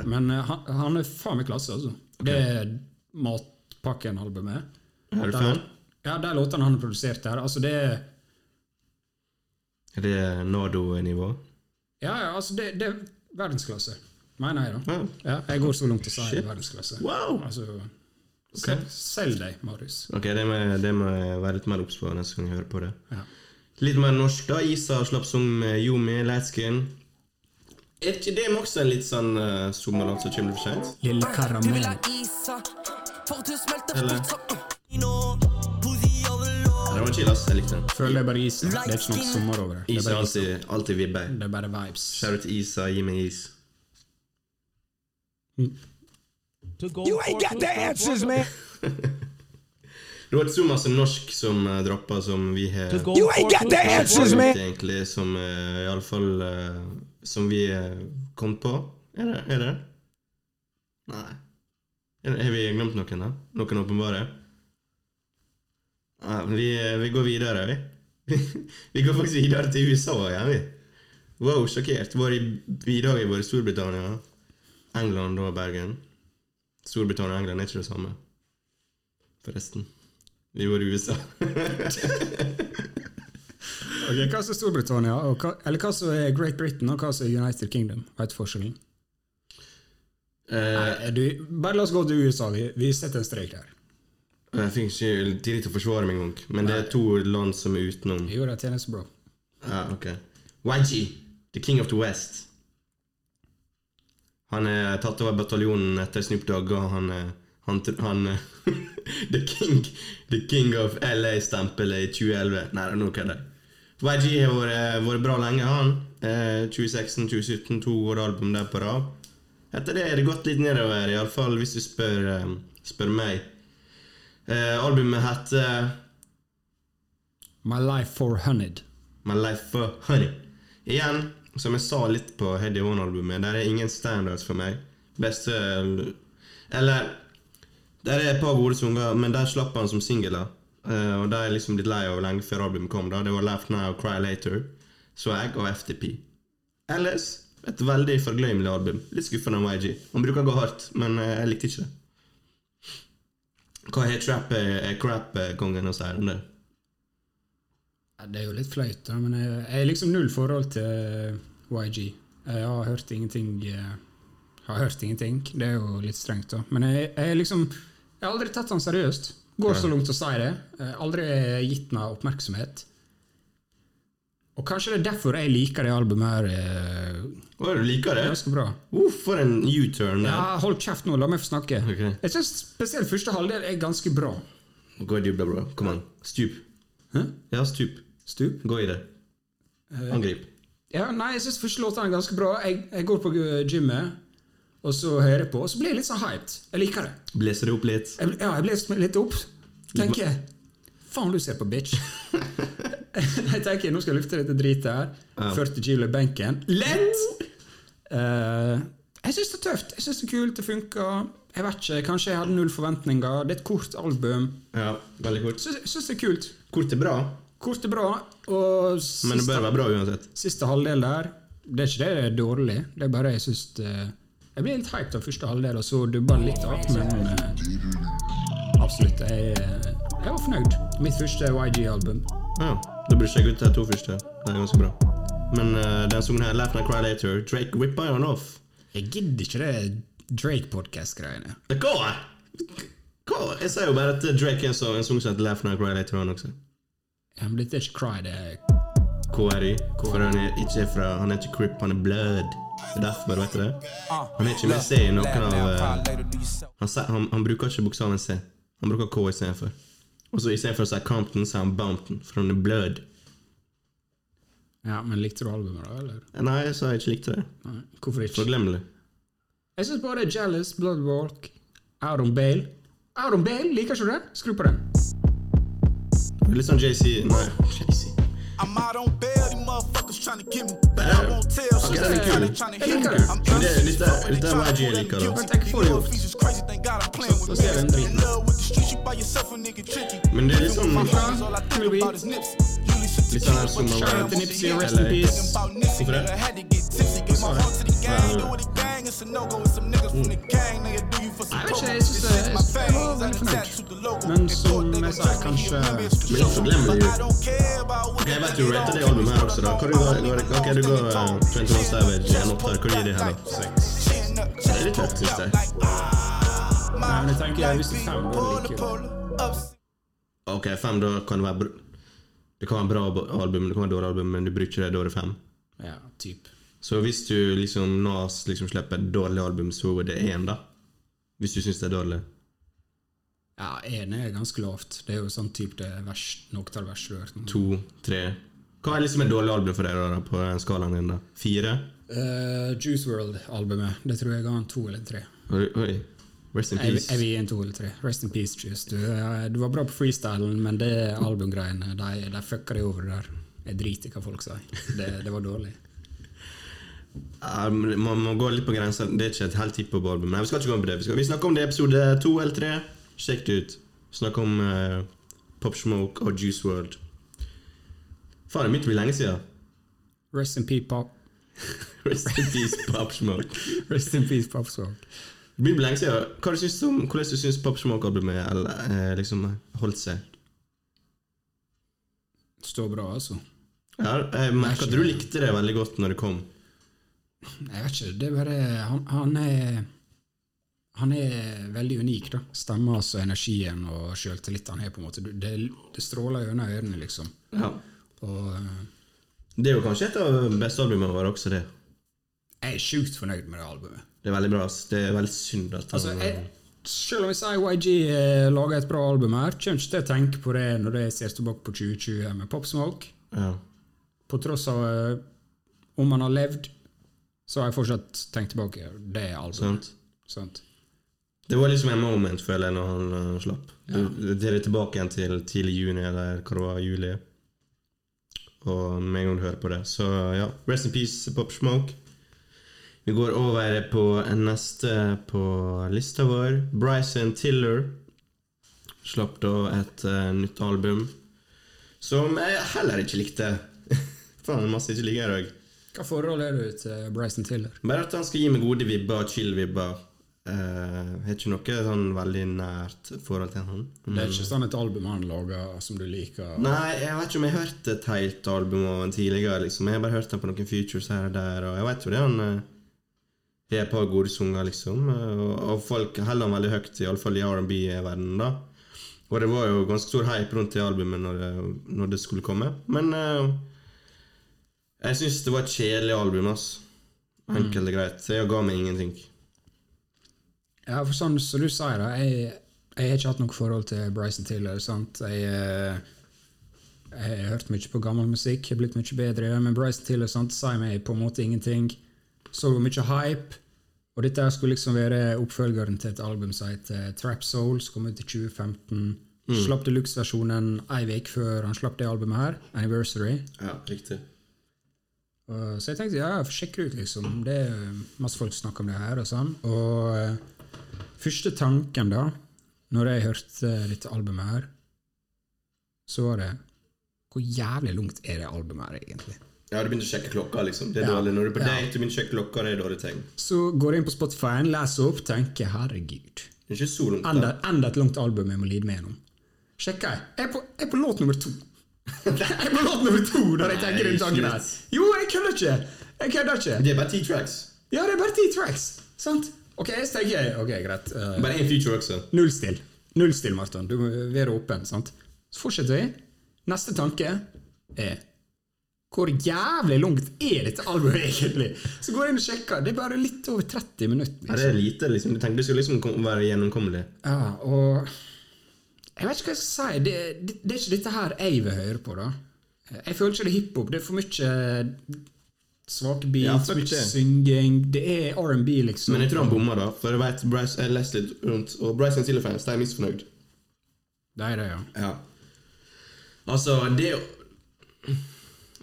[SPEAKER 1] Men eh, han, han er faen meg klasse, altså. Det er Matpakken-albumet.
[SPEAKER 2] Er du
[SPEAKER 1] Der-
[SPEAKER 2] fan?
[SPEAKER 1] Ja, de låtene han produserte her. Altså, det er
[SPEAKER 2] Er det Nado-nivå?
[SPEAKER 1] Ja, ja, altså, det, det er verdensklasse. Mener jeg, da.
[SPEAKER 2] Ja.
[SPEAKER 1] Ja, jeg går så langt til å si
[SPEAKER 2] Shit.
[SPEAKER 1] verdensklasse.
[SPEAKER 2] Wow!
[SPEAKER 1] Altså, sel- Selg deg, Marius.
[SPEAKER 2] Ok, det må, jeg- det må jeg være litt mer obs på neste gang jeg hører på det.
[SPEAKER 1] Ja.
[SPEAKER 2] Litt mer norsk, da. Isa slapp eh, sang med Yumi, Lightskin. Er ikke det også en litt sånn uh, sommerlåt som kommer for seint?
[SPEAKER 1] Lille
[SPEAKER 9] Du vil
[SPEAKER 1] karamell.
[SPEAKER 9] ha isa For du smelter
[SPEAKER 2] Eller?
[SPEAKER 9] fort som Nå, Pussy overload
[SPEAKER 2] Det var chill, ass. Jeg likte den.
[SPEAKER 1] Føler det er bare is. Det er ikke noe sommer over det. Det er
[SPEAKER 2] Isa
[SPEAKER 1] bare,
[SPEAKER 2] alltid, alltid vibber.
[SPEAKER 1] det er bare vibes.
[SPEAKER 2] Shout out til Isa, gi meg is.
[SPEAKER 4] You ain't got the answers, man.
[SPEAKER 2] Det var ikke så masse norsk som uh, droppa som vi har
[SPEAKER 4] You ain't got the answers, man.
[SPEAKER 2] Ut, egentlig, som uh, i alle fall eh, Som vi eh, kom på. Er det? Er det? Nei. Er, har vi glemt noen, da? Noen åpenbare? Nei, men vi, *laughs* eh, vi går videre, vi. vi går faktisk videre til USA igjen, vi. Wow, sjokkert. Vår, I dag er våre Storbritannia, England og Bergen. Storbritannia og England er ikke det samme, forresten. Vi var i *laughs* USA.
[SPEAKER 1] Ok, Hva som er Storbritannia, og hva, eller hva som er Great Britain, og hva som er United Kingdom? Vet du forskjellen?
[SPEAKER 2] Eh,
[SPEAKER 1] Er du, bare la oss gå til USA. Vi, vi setter en strek der.
[SPEAKER 2] jeg fikk ikke tid til å forsvare meg engang, men det er to land som er utenom.
[SPEAKER 1] Vi gjorde en tjeneste, bro.
[SPEAKER 2] Ja, Ah, ok. YG, the king of the west. Han er tatt over bataljonen etter Snoop Dogg, og han er han, tr- han er *laughs* the, king, the king of LA-stempelet i 2011. Nei, nå kødder jeg. YG har vært, eh, vært bra lenge, han. Eh, 2016, 2017, to år album der på rad. Etter det er det gått litt nedover, iallfall hvis du spør, eh, spør meg. Eh, albumet heter
[SPEAKER 1] My Life 400.
[SPEAKER 2] My Life for Honey. Igjen, som jeg sa litt på Heady One-albumet, der er ingen standards for meg. Beste Eller Der er et par gode sanger, men der slapp han som singler. Eh, og det er jeg liksom blitt lei av lenge før albumet kom. da Det var Laugh Now, Cry Later, Swag og FTP. Ellers et veldig forglemmelig album. Litt skuffende av YG. Han bruker å gå hardt, men eh, jeg likte ikke det. Hva har trap eh, crap-kongen å si om det?
[SPEAKER 1] Ja, Det er jo litt flaut, da, men jeg jeg har liksom null forhold til YG. Jeg har hørt ingenting eh, Har hørt ingenting. Det er jo litt strengt, da. Men jeg, jeg liksom Jeg har aldri tatt han seriøst. Går så langt å si det. Jeg har aldri gitt han oppmerksomhet. Og kanskje det er derfor jeg liker det albumet her eh,
[SPEAKER 2] Å, du liker det?
[SPEAKER 1] ganske bra.
[SPEAKER 2] Uff, for en U-turn der.
[SPEAKER 1] Ja, hold kjeft nå, la meg få snakke.
[SPEAKER 2] Ok.
[SPEAKER 1] Jeg syns spesielt første halvdel er ganske bra.
[SPEAKER 2] Gå i dybden, bro. Kom an. Stup.
[SPEAKER 1] Hæ?
[SPEAKER 2] Ja, stup.
[SPEAKER 1] Stup?
[SPEAKER 2] Gå i det.
[SPEAKER 1] Eh.
[SPEAKER 2] Angrip.
[SPEAKER 1] Ja, nei, jeg syns første låten er ganske bra. Jeg, jeg går på uh, gymmet, og så hører jeg på, og så blir jeg litt sånn hyped. Jeg liker det.
[SPEAKER 2] Blåser det opp litt.
[SPEAKER 1] Jeg, bl- ja, jeg blir litt opp. Tenker jeg, Faen, du ser på, bitch. *laughs* jeg tenker, nå skal jeg lufte dette dritet her. 40 kilo i benken. Lett! Eh, jeg syns det er tøft. Jeg syns det er kult. Det funker. Jeg vet ikke, kanskje jeg hadde null forventninger. Det er et kort album.
[SPEAKER 2] Ja, veldig kort.
[SPEAKER 1] Syns syns det er kult.
[SPEAKER 2] Kort er bra,
[SPEAKER 1] Kort er bra, og
[SPEAKER 2] men det
[SPEAKER 1] siste,
[SPEAKER 2] bør være bra uansett.
[SPEAKER 1] siste halvdel der Det er ikke det det er dårlig, det er bare jeg syns det Jeg ble litt hyped av første halvdel, og så dubba det litt av, men eh, absolutt. Jeg, eh, jeg var fornøyd. Mitt første YG-album.
[SPEAKER 2] Ja, da burde jeg sjekke ut de to første. Det er ganske bra. Men eh, den sangen her, Laugh and Cry Later, Drake rippa jo den off.
[SPEAKER 1] Jeg gidder ikke det Drake-podkast-greiene.
[SPEAKER 2] Det går! Hva? Jeg sier jo bare at Drake er en sang en sang som heter Laugh and Cry Later, han også.
[SPEAKER 1] Ja, men Dette er ikke cry, det er
[SPEAKER 2] KRY. For han er ikke fra Han er ikke Crip, han er Blood. Det er derfor, vet du det?
[SPEAKER 1] Ah.
[SPEAKER 2] Han er ikke med C i noen av eh, Han, sa- han, han bruker ikke bokstaven C. Han bruker K istedenfor. Og så istedenfor å si Compton, sier han Bounton, for han er blød.
[SPEAKER 1] Ja, men Likte du albumet, da? eller?
[SPEAKER 2] Nei, jeg sa jeg ikke likte det.
[SPEAKER 1] Nei, hvorfor ikke?
[SPEAKER 2] Forglemmelig.
[SPEAKER 1] Jeg syns bare Jealous, Bloodwalk, Out on Bale Out on Bale, liker ikke du det? Skru på den.
[SPEAKER 2] Litt sånn JC Nei, JC.
[SPEAKER 6] I'm out on bail, these motherfuckers tryna get me. But I won't tell, so
[SPEAKER 2] Okay,
[SPEAKER 6] they
[SPEAKER 2] thank you.
[SPEAKER 6] kinda tryna
[SPEAKER 1] Thank
[SPEAKER 6] hit me.
[SPEAKER 1] you.
[SPEAKER 6] I'm
[SPEAKER 2] Yeah, this that-
[SPEAKER 6] but they
[SPEAKER 2] this that
[SPEAKER 6] tryna
[SPEAKER 2] YG
[SPEAKER 6] pull
[SPEAKER 2] lick
[SPEAKER 6] them
[SPEAKER 2] up.
[SPEAKER 6] gimmicks.
[SPEAKER 1] Thank you for
[SPEAKER 6] These
[SPEAKER 1] you.
[SPEAKER 6] features crazy, thank God I'm playing with
[SPEAKER 1] let's get them
[SPEAKER 6] me.
[SPEAKER 1] three.
[SPEAKER 6] In love with the streets, you by yourself, a nigga tricky.
[SPEAKER 2] Men det er litt
[SPEAKER 6] Living
[SPEAKER 2] sånn
[SPEAKER 6] with my
[SPEAKER 2] Litt
[SPEAKER 6] problems, all I think
[SPEAKER 1] Ruby.
[SPEAKER 6] about is nips. Usually shit
[SPEAKER 2] sånn
[SPEAKER 6] to kill,
[SPEAKER 2] her som
[SPEAKER 6] but you
[SPEAKER 2] var
[SPEAKER 6] can't
[SPEAKER 1] Til Nipsey,
[SPEAKER 6] want
[SPEAKER 1] rest
[SPEAKER 6] to
[SPEAKER 1] in
[SPEAKER 2] Eller-
[SPEAKER 6] hear.
[SPEAKER 1] peace.
[SPEAKER 6] Thinking about Nipsey,
[SPEAKER 2] Hvorfor det?
[SPEAKER 6] nigga, had to get tipsy. Give my heart to the gang, do what it gang. It's a no-go with some niggas from the gang. Nigga, do you for some
[SPEAKER 1] Nei, jeg vet
[SPEAKER 6] coke.
[SPEAKER 1] ikke, jeg synes
[SPEAKER 6] This
[SPEAKER 1] det- jeg
[SPEAKER 6] shit's my
[SPEAKER 1] synes det var
[SPEAKER 6] veins, I
[SPEAKER 1] veldig fornøyd.
[SPEAKER 6] done tattooed the logo.
[SPEAKER 1] Men
[SPEAKER 6] They
[SPEAKER 1] som
[SPEAKER 6] thought they
[SPEAKER 1] jeg
[SPEAKER 6] was
[SPEAKER 1] sa,
[SPEAKER 6] joking,
[SPEAKER 1] kanskje-
[SPEAKER 6] remember it's for
[SPEAKER 2] Men
[SPEAKER 6] show.
[SPEAKER 2] forglemmelig.
[SPEAKER 6] But I don't care about what
[SPEAKER 2] Jeg vet du rater det albumet her også, da. Hva du går, går, ok, du går eh, 21 Savage igjen opp her. Hva gir det her, da? Det er litt høyt, synes jeg.
[SPEAKER 1] Nei, men jeg tenker hvis du er fem år, liker du det.
[SPEAKER 2] Ok, fem, da kan det være br Det kan være bra bo- album, det kan være dårlig album, men du bruker det, da er det fem.
[SPEAKER 1] Ja, typ.
[SPEAKER 2] Så hvis du liksom Nas liksom slipper et dårlig album, så er det én, da. Hvis du syns det er dårlig.
[SPEAKER 1] Ja, ene er ganske lavt. Det er jo sånn typ det vers, noktall vers du har hørt.
[SPEAKER 2] to, tre Hva er liksom et dårlig album for deg da, da, på den skalaen din? da? Fire?
[SPEAKER 1] Eh, Juice World-albumet. Det tror jeg ga en to eller tre.
[SPEAKER 2] Oi, oi. Rest in
[SPEAKER 1] Jeg, jeg
[SPEAKER 2] peace.
[SPEAKER 1] vil gi en to eller tre. Rest in peace, Juice. Du, eh, du var bra på freestylen, men det albumgreiene, de, de fucka deg over der. Jeg driter i hva folk sier. Det, det var dårlig.
[SPEAKER 2] Ja, men man må gå litt på grensa. Det er ikke et helt hiphop-album. Nei, vi skal ikke gå inn på det. Vi, skal, vi snakker om det i episode to eller tre. Sjekk det ut. Snakk om eh, Pop Smoke og Juice World. Faen, det begynte å bli lenge siden. *laughs*
[SPEAKER 1] Rest in peace, pop.
[SPEAKER 2] Rest in peace, Pop Smoke.
[SPEAKER 1] *laughs* Rest in peace, pop song.
[SPEAKER 2] Det begynte å bli lenge siden. Hva du syns om, hvordan du syns Pop Smoke-albumet eller, eh, liksom, holdt seg?
[SPEAKER 1] Står bra, altså.
[SPEAKER 2] Ja, jeg merker at du likte det veldig godt når det kom.
[SPEAKER 1] Jeg vet ikke, det er bare Han, han er han er veldig unik, da. Stemma og energien og sjøltilliten han har, på en måte. Du- Det, det stråler gjennom ørene, liksom.
[SPEAKER 2] Ja.
[SPEAKER 1] Og eh,
[SPEAKER 2] Det er jo kanskje et av de beste albumene våre også, det.
[SPEAKER 1] jeg er sjukt fornøyd med det albumet.
[SPEAKER 2] Det er veldig bra. ass. Det er veldig synd at han
[SPEAKER 1] Altså, jeg, selv om jeg sier YG eh, lager et bra album her, kommer ikke til å tenke på det når jeg ser tilbake på 2020 med Pop Smoke.
[SPEAKER 2] ja.
[SPEAKER 1] På tross av eh, om han har levd, så har jeg fortsatt tenkt tilbake. Det er albumet.
[SPEAKER 2] Sant.
[SPEAKER 1] Sant.
[SPEAKER 2] Det var liksom en moment, føler jeg, når han eh, slapp. Det- Det er tilbake igjen til tidlig juni, eller hva det var, juli. Og med en gang du hører på det. Så ja, rest in peace, Pop Smoke. Vi går over på neste på lista vår. Bryson Tiller slapp da et eh, nytt album som jeg heller ikke likte. *laughs* Faen, masse jeg ikke liker i dag.
[SPEAKER 1] Hva forhold er du til Bryson Tiller?
[SPEAKER 2] Bare at han skal gi meg gode vibber og chill vibber. Uh, har ikke noe sånn veldig nært forhold til han.
[SPEAKER 1] Det er ikke sånn et album han lager som du liker.
[SPEAKER 2] Nei, jeg vet ikke om jeg har hørt et helt album av han tidligere. liksom. Jeg har bare hørt han på noen features her og der, og jeg vet jo det han eh, har et par gode sanger, liksom. eh, og, og folk holder han veldig høyt, iallfall i R&B-verdenen, da. Og det var jo ganske stor hype rundt det albumet når det, når det skulle komme. Men eh, jeg syns det var et kjedelig album, ass. Enkelt og greit. Det ga meg ingenting.
[SPEAKER 1] Ja, for sånn som du sier, da, jeg, jeg har ikke hatt noe forhold til Bryson Tiller. sant? Jeg, eh, jeg har hørt mye på gammel musikk, jeg har blitt mye bedre, men Bryson Tiller sant, sier meg på en måte ingenting. Så mye hype. Og dette her skulle liksom være oppfølgeren til et album som heter Trap Soul, som kom ut i 2015. Slapp deluxe-versjonen ei uke før han slapp det albumet her, Anniversary.
[SPEAKER 2] Ja, riktig.
[SPEAKER 1] Og- Så jeg tenkte ja, jeg får sjekke det ut, liksom. Det er masse folk som snakker om det her. Og sånn. Og eh, første tanken, da, når jeg hørte dette albumet her, så var det Hvor jævlig langt er det albumet her, egentlig?
[SPEAKER 2] Ja, du begynte å sjekke klokka, liksom. Det er
[SPEAKER 1] Ja.
[SPEAKER 2] dårlig. Når du er på
[SPEAKER 1] Ja.
[SPEAKER 2] date, du begynner å sjekke klokka, det er dårlig tegn.
[SPEAKER 1] Så går jeg inn på Spotify, leser opp, tenker herregud.
[SPEAKER 2] Det er ikke så langt.
[SPEAKER 1] Enda,
[SPEAKER 2] da.
[SPEAKER 1] enda et langt album jeg må lide meg gjennom. Sjekker jeg. Jeg er på, jeg er på låt nummer to. *laughs* jeg er på låt nummer to når jeg tenker den tanken her.
[SPEAKER 2] shit.
[SPEAKER 1] Jo, jeg kødder ikke! Jeg kødder ikke.
[SPEAKER 2] Det er bare ti tracks.
[SPEAKER 1] Ja, det er bare ti tracks. Sant? Ok, så tenker jeg Ok, greit. eh,
[SPEAKER 2] Bare én feature også.
[SPEAKER 1] null still. Null still, Marton. Du eh, må være åpen. sant? Så fortsetter vi. Neste tanke er Hvor jævlig langt er dette albumet egentlig? Så går jeg inn og sjekker. Det er bare litt over 30 minutter.
[SPEAKER 2] Ja,
[SPEAKER 1] Liksom.
[SPEAKER 2] det er lite, liksom. Du tenkte det skulle liksom kom- være gjennomkommelig.
[SPEAKER 1] Ja, og Jeg vet ikke hva jeg skal si. Det, det, det er ikke dette her jeg vil høre på, da. Jeg føler ikke det er hiphop. Det er for mye eh, svake
[SPEAKER 2] Ja,
[SPEAKER 1] beats,
[SPEAKER 2] fuck
[SPEAKER 1] mye
[SPEAKER 2] det.
[SPEAKER 1] synging. Det er R&B, liksom.
[SPEAKER 2] Men jeg tror han bomma, da. For jeg vet, Bryce, jeg leste litt rundt, og Bryce and Silverfans de er misfornøyd.
[SPEAKER 1] Det er det, ja.
[SPEAKER 2] Ja. Altså, det er jo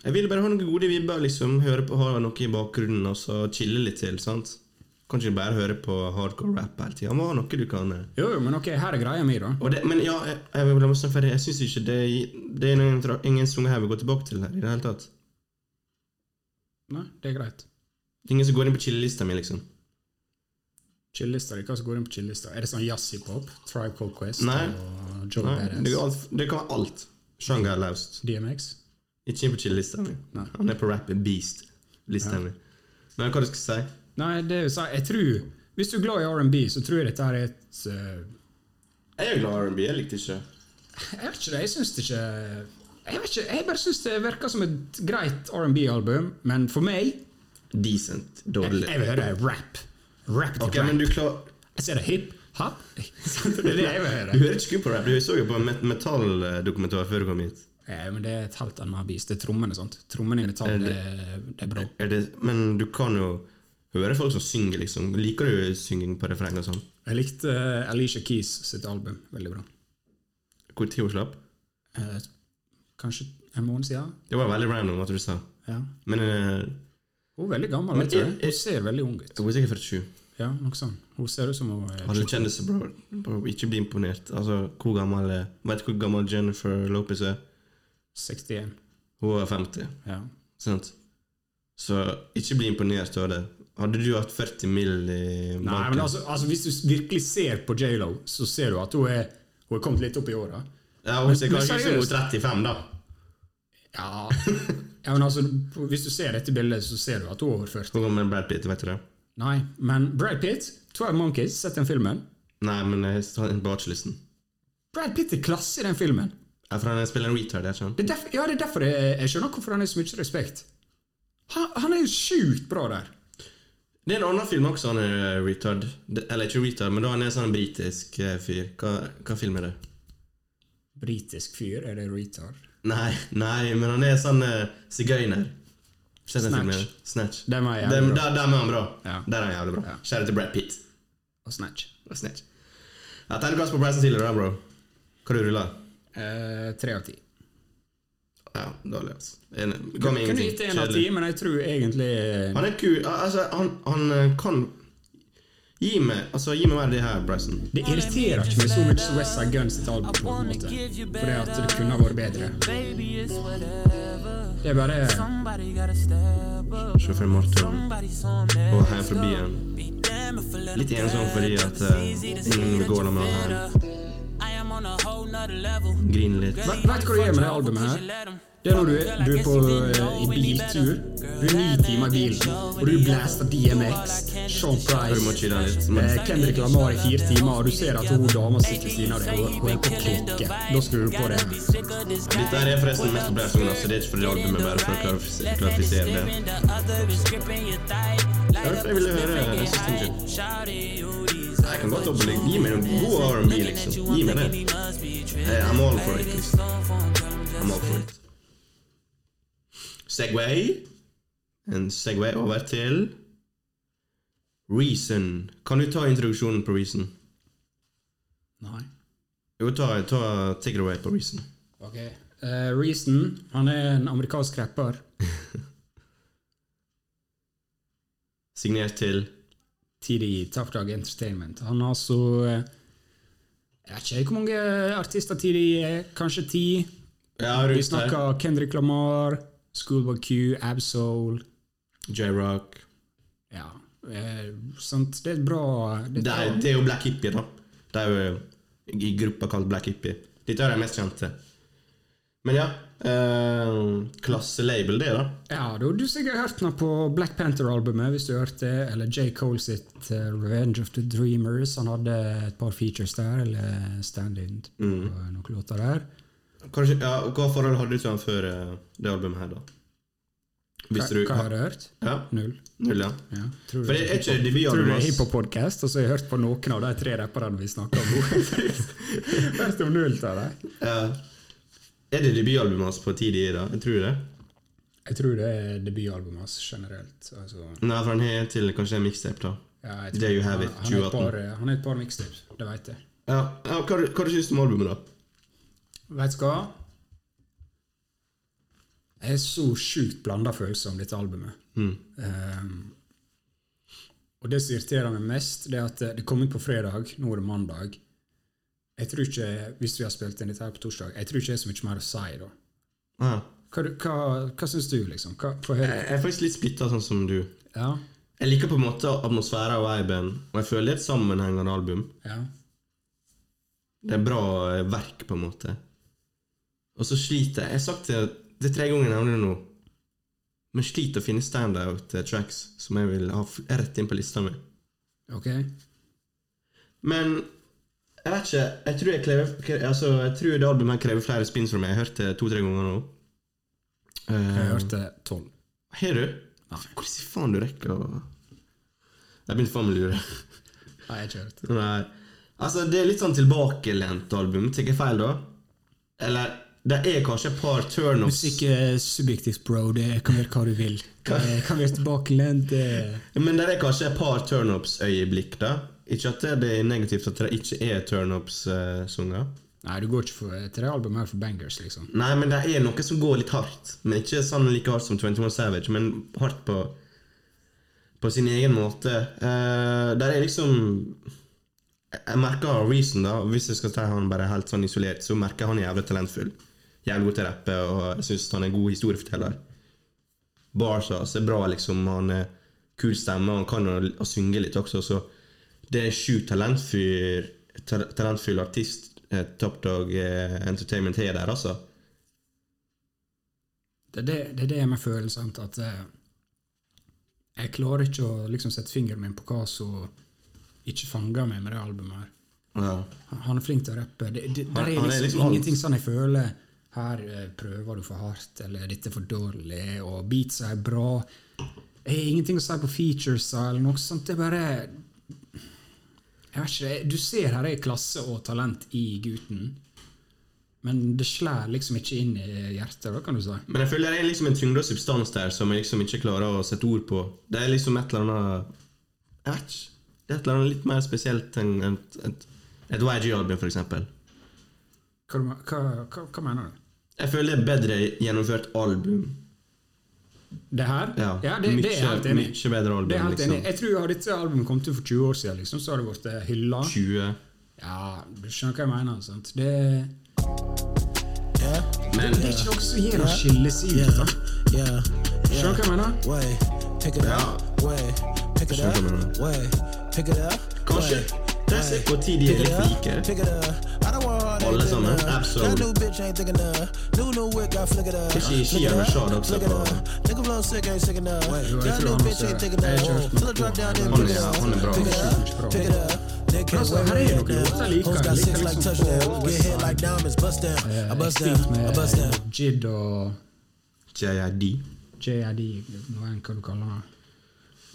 [SPEAKER 2] Jeg ville bare ha noen gode vibber, liksom. Høre på, ha noe i bakgrunnen, og så chille litt til, sant? Kan ikke bare høre på hardcore rap hele tida. Må ha noe du kan eh,
[SPEAKER 1] Jo, jo, men ok, her er greia mi, da.
[SPEAKER 2] Og det, men ja, jeg, jeg vil bare snakke ferdig. Jeg syns ikke det, det er noen, tra- ingen sanger her vi går tilbake til her i det hele tatt.
[SPEAKER 1] Nei, det er greit.
[SPEAKER 2] Det er ingen som går inn på chillelista mi, liksom.
[SPEAKER 1] Chillelista, det er hva som går inn på chillelista? Er det sånn jazz-hiphop? Tribe Called Quest
[SPEAKER 2] Nei.
[SPEAKER 1] og Joe
[SPEAKER 2] Nei, det, går
[SPEAKER 1] Badass?
[SPEAKER 2] alt, det kan være alt. Sjanger løst.
[SPEAKER 1] DMX?
[SPEAKER 2] Ikke inn på chillelista mi.
[SPEAKER 1] Nei.
[SPEAKER 2] Han er på rap beast-lista mi. Men hva du skal si?
[SPEAKER 1] Nei, det er jo sånn Jeg tror Hvis du er glad i R&B, så tror jeg dette her er et eh,
[SPEAKER 2] Jeg er glad i R&B. Jeg likte ikke
[SPEAKER 1] Jeg vet ikke det. Jeg syns det ikke Jeg vet ikke, jeg bare syns det virker som et greit R&B-album, men for meg
[SPEAKER 2] Decent.
[SPEAKER 1] Jeg,
[SPEAKER 2] Dårlig.
[SPEAKER 1] jeg vil høre rap. Rap til
[SPEAKER 2] Ok,
[SPEAKER 1] rap.
[SPEAKER 2] men du klar...
[SPEAKER 1] Jeg ser det hip, hop *laughs* Det er det jeg vil
[SPEAKER 2] Du
[SPEAKER 1] høre.
[SPEAKER 2] hører ikke på rap. Du så jo på en met metalldokumentar før du kom hit.
[SPEAKER 1] Eh, men det er et helt annet beast. Det er trommene, sant. Trommene i metall, det, det er bra.
[SPEAKER 2] Er det, men du kan jo høre folk som synger, liksom. Liker du synging på refreng og sånn?
[SPEAKER 1] Jeg likte eh, Alicia Keys sitt album veldig bra.
[SPEAKER 2] Hvor tid hun slapp?
[SPEAKER 1] Eh, kanskje en måned siden.
[SPEAKER 2] Det var veldig random at du sa.
[SPEAKER 1] Ja.
[SPEAKER 2] Men eh,
[SPEAKER 1] Hun er veldig gammel. vet
[SPEAKER 2] Men-
[SPEAKER 1] du. Hun ser veldig ung ut.
[SPEAKER 2] hun er sikkert 47.
[SPEAKER 1] Ja, noe sånn. Hun ser ut som hun er
[SPEAKER 2] Alle kjendiser, bro, bro, ikke bli imponert. Altså, hvor gammel er Vet du hvor gammel Jennifer Lopez er?
[SPEAKER 1] 61.
[SPEAKER 2] Hun var 50.
[SPEAKER 1] Ja.
[SPEAKER 2] Sant? Så ikke bli imponert av det. Hadde du hatt 40 mill. i banken
[SPEAKER 1] Nei, men altså, altså Hvis du virkelig ser på J.Lo, så ser du at hun er, hun er kommet litt opp i åra.
[SPEAKER 2] Ja, Hun ser
[SPEAKER 1] men
[SPEAKER 2] kanskje ut som hun er
[SPEAKER 1] seriøst.
[SPEAKER 2] 35, da.
[SPEAKER 1] Ja. *laughs* ja, men altså, hvis du ser dette bildet, så ser du at hun er over 40.
[SPEAKER 2] Hun går med Brad Pitt, vet du det?
[SPEAKER 1] Nei, men Brad Pitt, 12 Monkeys, sett den filmen.
[SPEAKER 2] Nei, men jeg har den på watchlisten.
[SPEAKER 1] Brad Pitt er klasse i den filmen.
[SPEAKER 2] Ja, for han spiller en retard, jeg skjønner.
[SPEAKER 1] Det er derfor, ja, det er derfor jeg, jeg skjønner hvorfor han er så mye respekt. Han, han er jo sjukt bra der.
[SPEAKER 2] Det er en annen film også han er retard. Det- Eller ikke retard, men da han er sånn britisk eh, fyr. Hva, hva film er det?
[SPEAKER 1] Britisk fyr, er det retard?
[SPEAKER 2] Nei, nei, men han er sånn eh, sigøyner. Sett den
[SPEAKER 1] Snatch.
[SPEAKER 2] filmen. Snatch.
[SPEAKER 1] Den var jævlig
[SPEAKER 2] Den-
[SPEAKER 1] bra.
[SPEAKER 2] Der, der er han bra.
[SPEAKER 1] Ja.
[SPEAKER 2] Der er han jævlig bra.
[SPEAKER 1] Ja.
[SPEAKER 2] Kjære til Brad Pitt.
[SPEAKER 1] Og Snatch.
[SPEAKER 2] Og Snatch. Ja, Terningkast på Bryson Tiller, da, bro. Hva du ruller
[SPEAKER 1] Eh, Tre av ti.
[SPEAKER 2] Ja, dårlig, altså. En, ga meg
[SPEAKER 1] Kunne
[SPEAKER 2] ingenting.
[SPEAKER 1] gitt en av ti,
[SPEAKER 2] Kjedelig.
[SPEAKER 1] men jeg tror egentlig eh,
[SPEAKER 2] Han er kul. Al- Altså, han, han eh, kan Gi meg altså, gi meg mer av det her, Bryson.
[SPEAKER 1] Det irriterer ikke meg så mye som West Side Guns sitt album, på en måte. Fordi at det kunne ha vært bedre.
[SPEAKER 9] Baby, it's whatever.
[SPEAKER 1] Det er bare
[SPEAKER 9] Somebody gotta step up.
[SPEAKER 2] Sjåfør Martin.
[SPEAKER 9] Somebody's on
[SPEAKER 2] Og
[SPEAKER 9] there.
[SPEAKER 2] her forbi han.
[SPEAKER 9] Be damn if a little
[SPEAKER 2] Litt ensom fordi at eh, ingen vil gå med han her.
[SPEAKER 9] I am on a whole nother level.
[SPEAKER 2] Grine litt.
[SPEAKER 1] Vet vet du hva du gjør med det albumet her? Det er når du er, du er på eh, i biltur. Du er ni timer i bilen, og du blaster DMX, Sean
[SPEAKER 2] Du må
[SPEAKER 1] Price
[SPEAKER 2] chille litt.
[SPEAKER 1] eh, Kendrick Lamar i fire timer, og du ser at hun dama sitter ved siden av deg og hun er på klokke. Da skrur du på det.
[SPEAKER 2] Dette her er forresten mest populært sånn, altså. Det er ikke fordi albumet, bare for å klarifis- klarifisere det. Det var derfor jeg ville høre den siste tingen. Nei, Jeg kan godt opplegge. Gi meg noen god R&B, liksom. Gi meg det. Hey, I'm all for it, liksom. I'm all for it. Segway. En segway over til Reason. Kan du ta introduksjonen på Reason?
[SPEAKER 1] Nei.
[SPEAKER 2] Jo, ta, ta take it away på Reason.
[SPEAKER 1] Ok. Eh, Reason, han er en amerikansk rapper.
[SPEAKER 2] Signert til
[SPEAKER 1] TDI, Tough Dog Entertainment. Han har så eh, Jeg vet ikke hvor mange artister TDI er. Kanskje ti?
[SPEAKER 2] Ja,
[SPEAKER 1] Vi
[SPEAKER 2] rundt der.
[SPEAKER 1] snakker Kendrick Lamar, Schoolboy Q, Absol
[SPEAKER 2] J-Rock.
[SPEAKER 1] Ja. Eh, sant? Det er et bra Det er et
[SPEAKER 2] Det, er-
[SPEAKER 1] bra-
[SPEAKER 2] det er jo Black Hippie, da. Det er jo eh, i gruppa kalt Black Hippie. Dette er de mest kjente. Men ja eh, Klasselabel, det, da.
[SPEAKER 1] Ja, du, du sikkert har hørt den på Black Panther-albumet, hvis du har hørt det, eller J. Cole sitt eh, Revenge of the Dreamers. Han hadde et par features der, eller stand-in på
[SPEAKER 2] Mm.
[SPEAKER 1] noen låter der.
[SPEAKER 2] Kanskje, ja, og hva forhold hadde du til han før eh, det albumet her, da?
[SPEAKER 1] Hva,
[SPEAKER 2] Hvis du
[SPEAKER 1] hva har du hørt?
[SPEAKER 2] Ja,
[SPEAKER 1] Null.
[SPEAKER 2] null, ja.
[SPEAKER 1] Ja. Tror
[SPEAKER 2] For det er ikke
[SPEAKER 1] Tror du det er
[SPEAKER 2] debutalbumet hans.
[SPEAKER 1] hiphop-podkast, og så har jeg hørt på noen av de tre rapperne vi snakker om nå?
[SPEAKER 2] *laughs*
[SPEAKER 1] *laughs* hørt om null av dem?
[SPEAKER 2] Ja. Er det debutalbumet hans på tidlig, da? Jeg tror det.
[SPEAKER 1] Jeg tror det er debutalbumet hans generelt. Altså,
[SPEAKER 2] Nei, for han har til kanskje en mixtape, da.
[SPEAKER 1] ja, jeg tror-
[SPEAKER 2] There you have it,
[SPEAKER 1] han, han er et
[SPEAKER 2] 2018.
[SPEAKER 1] par, eh, han er et par mixtapes, det veit jeg.
[SPEAKER 2] Ja, ja hva, hva syns du om albumet, da?
[SPEAKER 1] Veit du hva? Jeg er så sjukt blanda følelser om dette albumet. Ehm, og det som irriterer meg mest, det er at det kom ut på fredag, nå er det mandag. Jeg tror ikke, Hvis vi har spilt inn dette her på torsdag, jeg tror ikke det er så mye mer å si da.
[SPEAKER 2] Ja.
[SPEAKER 1] Hva, du- hva, hva syns du, liksom? Hva, få høre.
[SPEAKER 2] Jeg er faktisk litt splitta, sånn som du.
[SPEAKER 1] Ja?
[SPEAKER 2] Jeg liker på en måte atmosfæra og viben, og jeg føler det er et sammenhengende album.
[SPEAKER 1] Ja?
[SPEAKER 2] Det er bra eh, verk, på en måte. Og så sliter jeg Jeg har sagt det, det er tre ganger jeg nevner det nå, men sliter å finne standout eh, tracks som jeg vil ha f- rett inn på lista mi.
[SPEAKER 1] Ok?
[SPEAKER 2] Men jeg vet ikke Jeg tror, jeg krever, kre- altså, jeg tror det albumet her krever flere spins fra meg. Jeg har hørt det to-tre ganger nå.
[SPEAKER 1] Jeg
[SPEAKER 2] Eh,
[SPEAKER 1] hørte tolv.
[SPEAKER 2] Har du? Hvordan i faen du rekker å Jeg begynte faen meg å lure.
[SPEAKER 1] Nei, jeg har ikke hørt.
[SPEAKER 2] Nei. Altså, det er litt sånn tilbakelent album. Tar jeg feil, da? Eller det er kanskje et par turnoffs
[SPEAKER 1] Musikk er subjektivt, bro. Det kan være hva du vil. Det kan være tilbakelent. det-
[SPEAKER 2] Men det er kanskje et par turnops-øyeblikk, da. Ikke at det er negativt at det ikke er eh, turnops-sanger.
[SPEAKER 1] Nei, du går ikke for, til det albumet her for bangers, liksom.
[SPEAKER 2] Nei, men det er noe som går litt hardt. Men ikke sånn like hardt som 21 Savage, men hardt på På sin egen måte. Eh, der er liksom Jeg jeg merker Reason, da. Hvis jeg skal ta han bare helt sånn isolert, så merker jeg han er jævlig talentfull. jævlig god til å rappe, og jeg syns han er en god historieforteller. Bars hans er bra, liksom. Han er kul stemme, og han kan å, å synge litt også, så det er sjukt talentfull, ta- talentfull artist eh, Top Dog eh, Entertainment har der, altså.
[SPEAKER 1] Det er det, det, er det med følelsen at eh, jeg klarer ikke å liksom sette fingeren min på hva som ikke fanger meg med det albumet. her.
[SPEAKER 2] Ja.
[SPEAKER 1] Han- Han er flink til å rappe. Det, det, der
[SPEAKER 2] Han-
[SPEAKER 1] er
[SPEAKER 2] han
[SPEAKER 1] liksom,
[SPEAKER 2] er liksom alt.
[SPEAKER 1] ingenting sånn jeg føler her eh, prøver du for hardt, eller dette er for dårlig, og beatsa er bra. Jeg har ingenting å si på features eller noe sånt. Det er bare Jeg vet ikke, det er- Du ser her er klasse og talent i gutten, men det slår liksom ikke inn i hjertet, da, kan du si.
[SPEAKER 2] Men jeg føler det er liksom en tyngde og substans der som jeg liksom ikke klarer å sette ord på. Det er liksom et eller annet Jeg vet ikke. Det er et eller annet litt mer spesielt enn et, et, et YG-album, for eksempel.
[SPEAKER 1] Hva, du men- hva, hva, hva mener du?
[SPEAKER 2] Jeg føler det er bedre gjennomført album.
[SPEAKER 1] Det her?
[SPEAKER 2] Ja,
[SPEAKER 1] det, det er jeg helt enig i.
[SPEAKER 2] Mye bedre album,
[SPEAKER 1] Det er helt
[SPEAKER 2] liksom.
[SPEAKER 1] enig. Jeg tror hadde dette albumet kommet ut for 20 år siden, liksom, så hadde det blitt hylla.
[SPEAKER 2] 20.
[SPEAKER 1] Ja, du skjønner hva jeg mener. sant? Det, det
[SPEAKER 2] Men
[SPEAKER 1] er ikke noe som gjør å skille seg ut. da.
[SPEAKER 10] Yeah,
[SPEAKER 1] Skjønner du hva jeg mener?
[SPEAKER 10] way, pick it up, way, pick it
[SPEAKER 2] Skjønner hva jeg
[SPEAKER 10] up, way, pick it up.
[SPEAKER 2] kanskje
[SPEAKER 10] way,
[SPEAKER 2] det er sikkert på tid de er litt like.
[SPEAKER 10] Pick it up. I don't want all that
[SPEAKER 2] All this
[SPEAKER 10] digging
[SPEAKER 2] on
[SPEAKER 10] up.
[SPEAKER 2] the app, so-
[SPEAKER 10] That new bitch ain't thinking of. New new wick, I flick it up.
[SPEAKER 2] This is- she
[SPEAKER 10] Flick it
[SPEAKER 2] ever
[SPEAKER 10] up,
[SPEAKER 2] shot up so
[SPEAKER 10] flick it
[SPEAKER 2] far.
[SPEAKER 10] up. Nigga flow sick ain't sick enough.
[SPEAKER 1] wait,
[SPEAKER 10] That
[SPEAKER 1] throw
[SPEAKER 10] new
[SPEAKER 1] on
[SPEAKER 10] bitch
[SPEAKER 1] the
[SPEAKER 10] ain't
[SPEAKER 1] side.
[SPEAKER 10] thinking
[SPEAKER 1] Hey, George,
[SPEAKER 10] of. Till it drop down, then
[SPEAKER 2] On
[SPEAKER 10] pick
[SPEAKER 2] the
[SPEAKER 10] it
[SPEAKER 2] side, on the
[SPEAKER 10] up.
[SPEAKER 2] bro.
[SPEAKER 10] Pick it up, pick it up. They can't
[SPEAKER 1] Also,
[SPEAKER 10] wait
[SPEAKER 1] how
[SPEAKER 10] to
[SPEAKER 1] do you
[SPEAKER 10] get
[SPEAKER 1] look at
[SPEAKER 10] down.
[SPEAKER 1] what's that leak
[SPEAKER 10] Hoes
[SPEAKER 1] on?
[SPEAKER 10] got
[SPEAKER 1] Leak
[SPEAKER 10] six
[SPEAKER 1] on
[SPEAKER 10] like
[SPEAKER 1] some
[SPEAKER 10] touchdown.
[SPEAKER 1] forward
[SPEAKER 10] Get hit like diamonds. Bust down. I bust down. I bust down.
[SPEAKER 1] med Jid og
[SPEAKER 2] JID.
[SPEAKER 1] JID, hva enn hva du kaller han.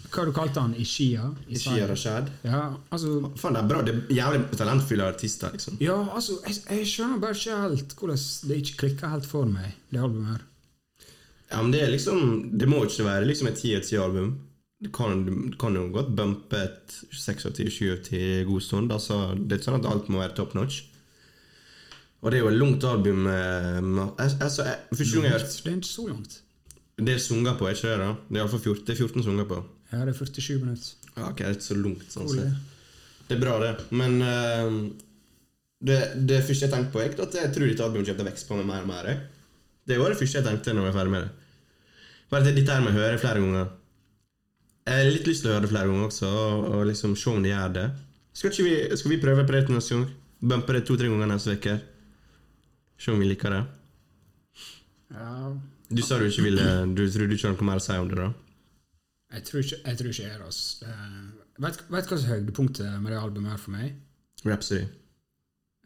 [SPEAKER 1] Hva du kalte han? Ishia?
[SPEAKER 2] Shia Rashad.
[SPEAKER 1] Ja, altså,
[SPEAKER 2] Faen, det er bra. Det er jævlig talentfulle artister, liksom.
[SPEAKER 1] ja, altså jeg, jeg skjønner bare ikke helt hvordan det ikke klikker helt for meg, det albumet her.
[SPEAKER 2] Ja, men det er liksom Det må ikke være liksom et 10 av 10 album. Du kan, du kan jo godt bumpe et 6 av 10, 7 av 10 i god stund. Altså, det er ikke sånn at alt må være top notch. Og det er jo et langt album. eh, med- al- Altså, jeg, første gang jeg har hørt
[SPEAKER 1] Det er ikke så langt.
[SPEAKER 2] Det er sanger på, er ikke det? da? Det er iallfall 14, det er 14 sanger på.
[SPEAKER 1] Ja, det er 47 minutter.
[SPEAKER 2] Ja, ok, det er ikke så langt. sånn
[SPEAKER 1] Rolig.
[SPEAKER 2] sett. Det er bra, det. Men eh, det, det første jeg tenkte på, er at jeg tror dette albumet kommer til å vokse på meg mer og mer. jeg. Det var det første jeg tenkte når jeg var ferdig med det. Bare det, Dette her må jeg høre flere ganger. Jeg har litt lyst til å høre det flere ganger også, og, og liksom se om det gjør det. Skal, ikke vi, skal vi prøve på det til neste gang? Bumpe det to-tre ganger neste uke? Se om vi liker det.
[SPEAKER 1] Ja,
[SPEAKER 2] Du sa du ikke ville Du tror du ikke har noe mer å si om det, da?
[SPEAKER 1] jeg tror ikke jeg, tror ikke jeg er det, altså. Det er- Vet vet du hva som er høydepunktet med det albumet her for meg?
[SPEAKER 2] Rhapsody.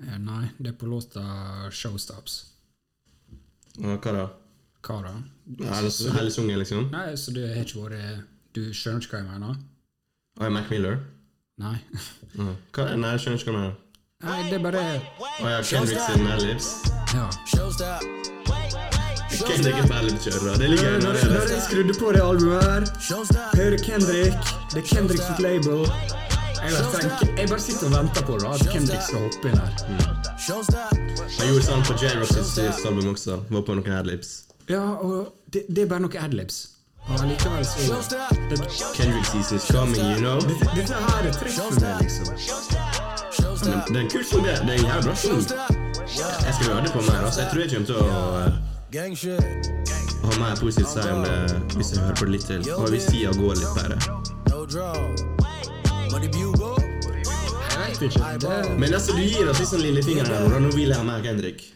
[SPEAKER 1] Eh, Nei, det er på låta Showstops.
[SPEAKER 2] Ja, Hva da?
[SPEAKER 1] Hva da?
[SPEAKER 2] Hele- Hele sangen, liksom?
[SPEAKER 1] Nei, så det har ikke vært Du skjønner ikke hva jeg mener?
[SPEAKER 2] Og Mac Miller?
[SPEAKER 1] Nei. *laughs*
[SPEAKER 2] Ja. Hva, nei, jeg skjønner ikke hva du mener.
[SPEAKER 1] Nei, det er bare
[SPEAKER 2] Å ja, Kendrick sin Mad Libs.
[SPEAKER 1] Ja.
[SPEAKER 10] Show stop.
[SPEAKER 2] Kendrick er Mad Libs-kjører. Det ligger under det. der.
[SPEAKER 1] jeg skrudde på det albumet her,
[SPEAKER 10] Show stop.
[SPEAKER 1] hører Kendrick Det er Kendrick sitt label. Jeg bare, tenker, jeg bare sitter og venter på da, at Kendrick skal hoppe inn her.
[SPEAKER 10] Show stop.
[SPEAKER 2] Han gjorde sånn på J-Rock sitt siste album også. Var på noen Mad Libs.
[SPEAKER 1] Ja, og det, det er bare noen adlibs. Og likevel så
[SPEAKER 2] Kendrick sees is coming, you know. Det
[SPEAKER 1] Dette her er treffer meg, liksom.
[SPEAKER 2] er en kul sang, det. Det er en jævlig bra sang. Jeg skal høre det på mer. altså. Jeg tror jeg kommer til å eh,
[SPEAKER 10] Gang shit.
[SPEAKER 2] ha mer positivt å si om det hvis jeg hører på det litt til. Og hvis tida går litt bedre.
[SPEAKER 10] No draw. Money bugle.
[SPEAKER 1] Jeg vet ikke. Det er,
[SPEAKER 2] Men altså, du gir oss litt sånn lillefinger her, Nora. Nå vil jeg ha mer Kendrick.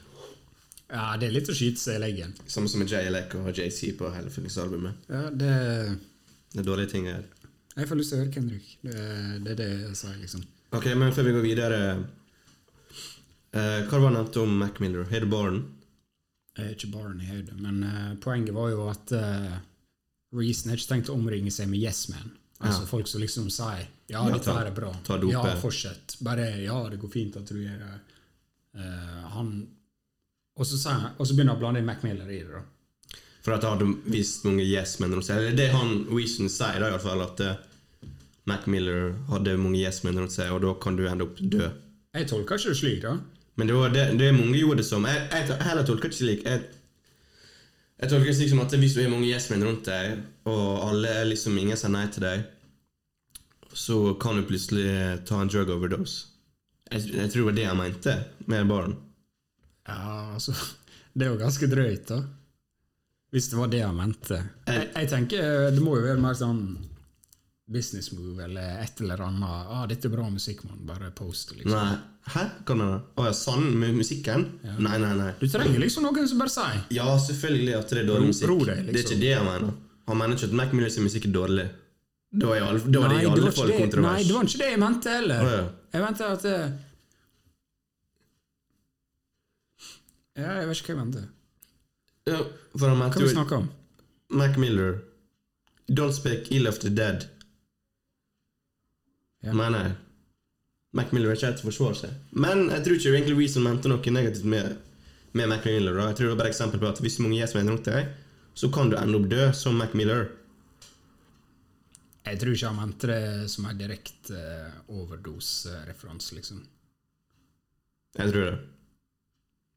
[SPEAKER 1] ja, det er litt å skyte seg i leggen.
[SPEAKER 2] Samme som med JLEC og JC på hele fuckings-albumet.
[SPEAKER 1] Ja, det
[SPEAKER 2] Det er dårlige ting her.
[SPEAKER 1] Jeg får lyst til å høre Kendrick. Det, det er det jeg sier, liksom.
[SPEAKER 2] Ok, men før vi går videre eh, Hva var nevnt om Mac Miller? Har du baren?
[SPEAKER 1] Jeg er ikke barn i høyde, men eh, poenget var jo at uh, Reason har ikke tenkt å omringe seg med yes men. Altså
[SPEAKER 2] Ja.
[SPEAKER 1] folk som liksom sier ja, dette
[SPEAKER 2] ta-
[SPEAKER 1] her er bra,
[SPEAKER 2] ta dopet.
[SPEAKER 1] ja, fortsett. Bare ja, det går fint at du gjør det. Eh, han Og så sier han- og så begynner han å blande inn Mac Miller i det, da.
[SPEAKER 2] For at jeg hadde vist mange yes men rundt seg. Eller det han Weason sier, da, i hvert fall, at eh, Mac Miller hadde mange yes men rundt seg, og da kan du ende opp død.
[SPEAKER 1] Jeg tolker ikke det slik, da.
[SPEAKER 2] Men det var det, det mange gjorde det som Jeg, jeg, jeg heller tolker ikke slik. Jeg, jeg tolker det slik som at hvis du har mange yes men rundt deg, og alle er liksom ingen sier nei til deg, så kan du plutselig ta en drug overdose. Jeg, jeg tror det var det han mente med baren.
[SPEAKER 1] Ja, altså *laughs* Det er jo ganske drøyt, da. Hvis det var det han mente. Jeg, jeg tenker eh, det må jo være mer sånn business move eller et eller annet. Ah, 'Dette er bra musikk, mann. Bare post', liksom.
[SPEAKER 2] Nei. Hæ? Hva mener du? Å ja, sann med musikken? Nei, nei, nei.
[SPEAKER 1] Du trenger liksom noen som bare sier
[SPEAKER 2] Ja, selvfølgelig at det er dårlig
[SPEAKER 1] Ro-
[SPEAKER 2] musikk.
[SPEAKER 1] ro deg, liksom.
[SPEAKER 2] Det er ikke det han mener. Han mener ikke at Mac Miller sin musikk er dårlig. Da er, i alle, da er
[SPEAKER 1] Nei,
[SPEAKER 2] det i
[SPEAKER 1] det var
[SPEAKER 2] alle
[SPEAKER 1] ikke
[SPEAKER 2] fall
[SPEAKER 1] det-
[SPEAKER 2] kontrovers.
[SPEAKER 1] Nei, det var ikke det jeg mente heller.
[SPEAKER 2] Å, ja.
[SPEAKER 1] Jeg mente at eh, Ja, jeg vet ikke hva jeg mente.
[SPEAKER 2] Ja, for han
[SPEAKER 1] Hva
[SPEAKER 2] mente
[SPEAKER 1] vi
[SPEAKER 2] jo
[SPEAKER 1] snakker om?
[SPEAKER 2] Mac Miller Don't speak ill of the dead.
[SPEAKER 1] Ja.
[SPEAKER 2] Mener jeg. Mac Miller er ikke her til å forsvare seg. Men jeg tror ikke egentlig Reason mente noe negativt med, med Mac Miller. Da. Jeg tror det var bare et eksempel på at hvis mange gjør som er rundt deg, så kan du ende opp død som Mac Miller.
[SPEAKER 1] Jeg tror ikke han mente det som en direkte uh, overdosereferanse, liksom.
[SPEAKER 2] Jeg tror det.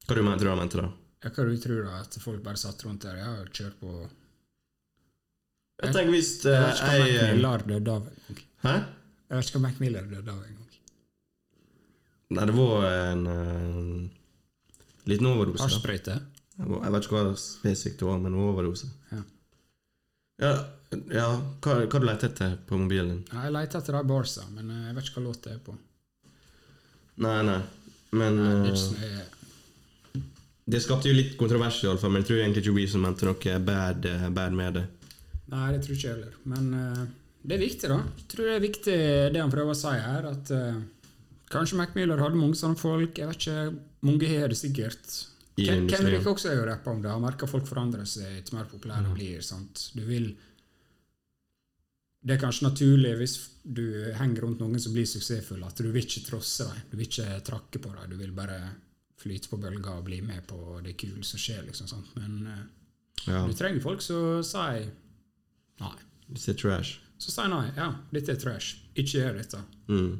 [SPEAKER 2] Hva du mener, tror du han mente da?
[SPEAKER 1] Ja, hva du tror da? At folk bare satt rundt der? Ja, kjør på.
[SPEAKER 2] Eh, Jeg tenker hvis
[SPEAKER 1] Jeg
[SPEAKER 2] eh,
[SPEAKER 1] vet ikke hva
[SPEAKER 2] jeg
[SPEAKER 1] Mac Miller døde av en gang.
[SPEAKER 2] Hæ?
[SPEAKER 1] Jeg vet ikke hva Mac Miller døde av en gang.
[SPEAKER 2] Nei, det var en eh, liten overdose. da.
[SPEAKER 1] Hasjsprøyte?
[SPEAKER 2] Jeg var- jeg vet ikke hva spesifikt det var, men overdose.
[SPEAKER 1] Ja.
[SPEAKER 2] Ja, ja hva, hva du leter etter på mobilen din?
[SPEAKER 1] Ja, jeg leter etter de barsa, men eh, jeg vet ikke hva låt det er på.
[SPEAKER 2] Nei, nei. Men
[SPEAKER 1] Det er
[SPEAKER 2] eh,
[SPEAKER 1] ikke sånn jeg-
[SPEAKER 2] det skapte jo litt kontrovers, i alle fall, men jeg tror egentlig ikke Reason mente noe bad, eh, bad med det.
[SPEAKER 1] Nei, det tror ikke jeg heller. Men eh, det er viktig, da. Jeg tror det er viktig det han prøver å si her, at eh, kanskje Mac Miller hadde mange sånne folk. Jeg vet ikke, mange har det sikkert.
[SPEAKER 2] I
[SPEAKER 1] Ken-
[SPEAKER 2] industrien.
[SPEAKER 1] Kendrick også er jo rappa om det. Han merker folk forandrer seg etter mer
[SPEAKER 2] Mm.
[SPEAKER 1] populære blir. sant? Du vil... Det er kanskje naturlig hvis du henger rundt noen som blir suksessfulle, at du vil ikke trosse dem. Du vil ikke trakke på dem. Du vil bare flyte på bølga og bli med på det kule som skjer. liksom sant? Men eh,
[SPEAKER 2] Ja,
[SPEAKER 1] du trenger folk som sier nei.
[SPEAKER 2] det er trash.
[SPEAKER 1] Så sier nei. Ja, dette er trash. Ikke gjør dette.
[SPEAKER 2] Mm.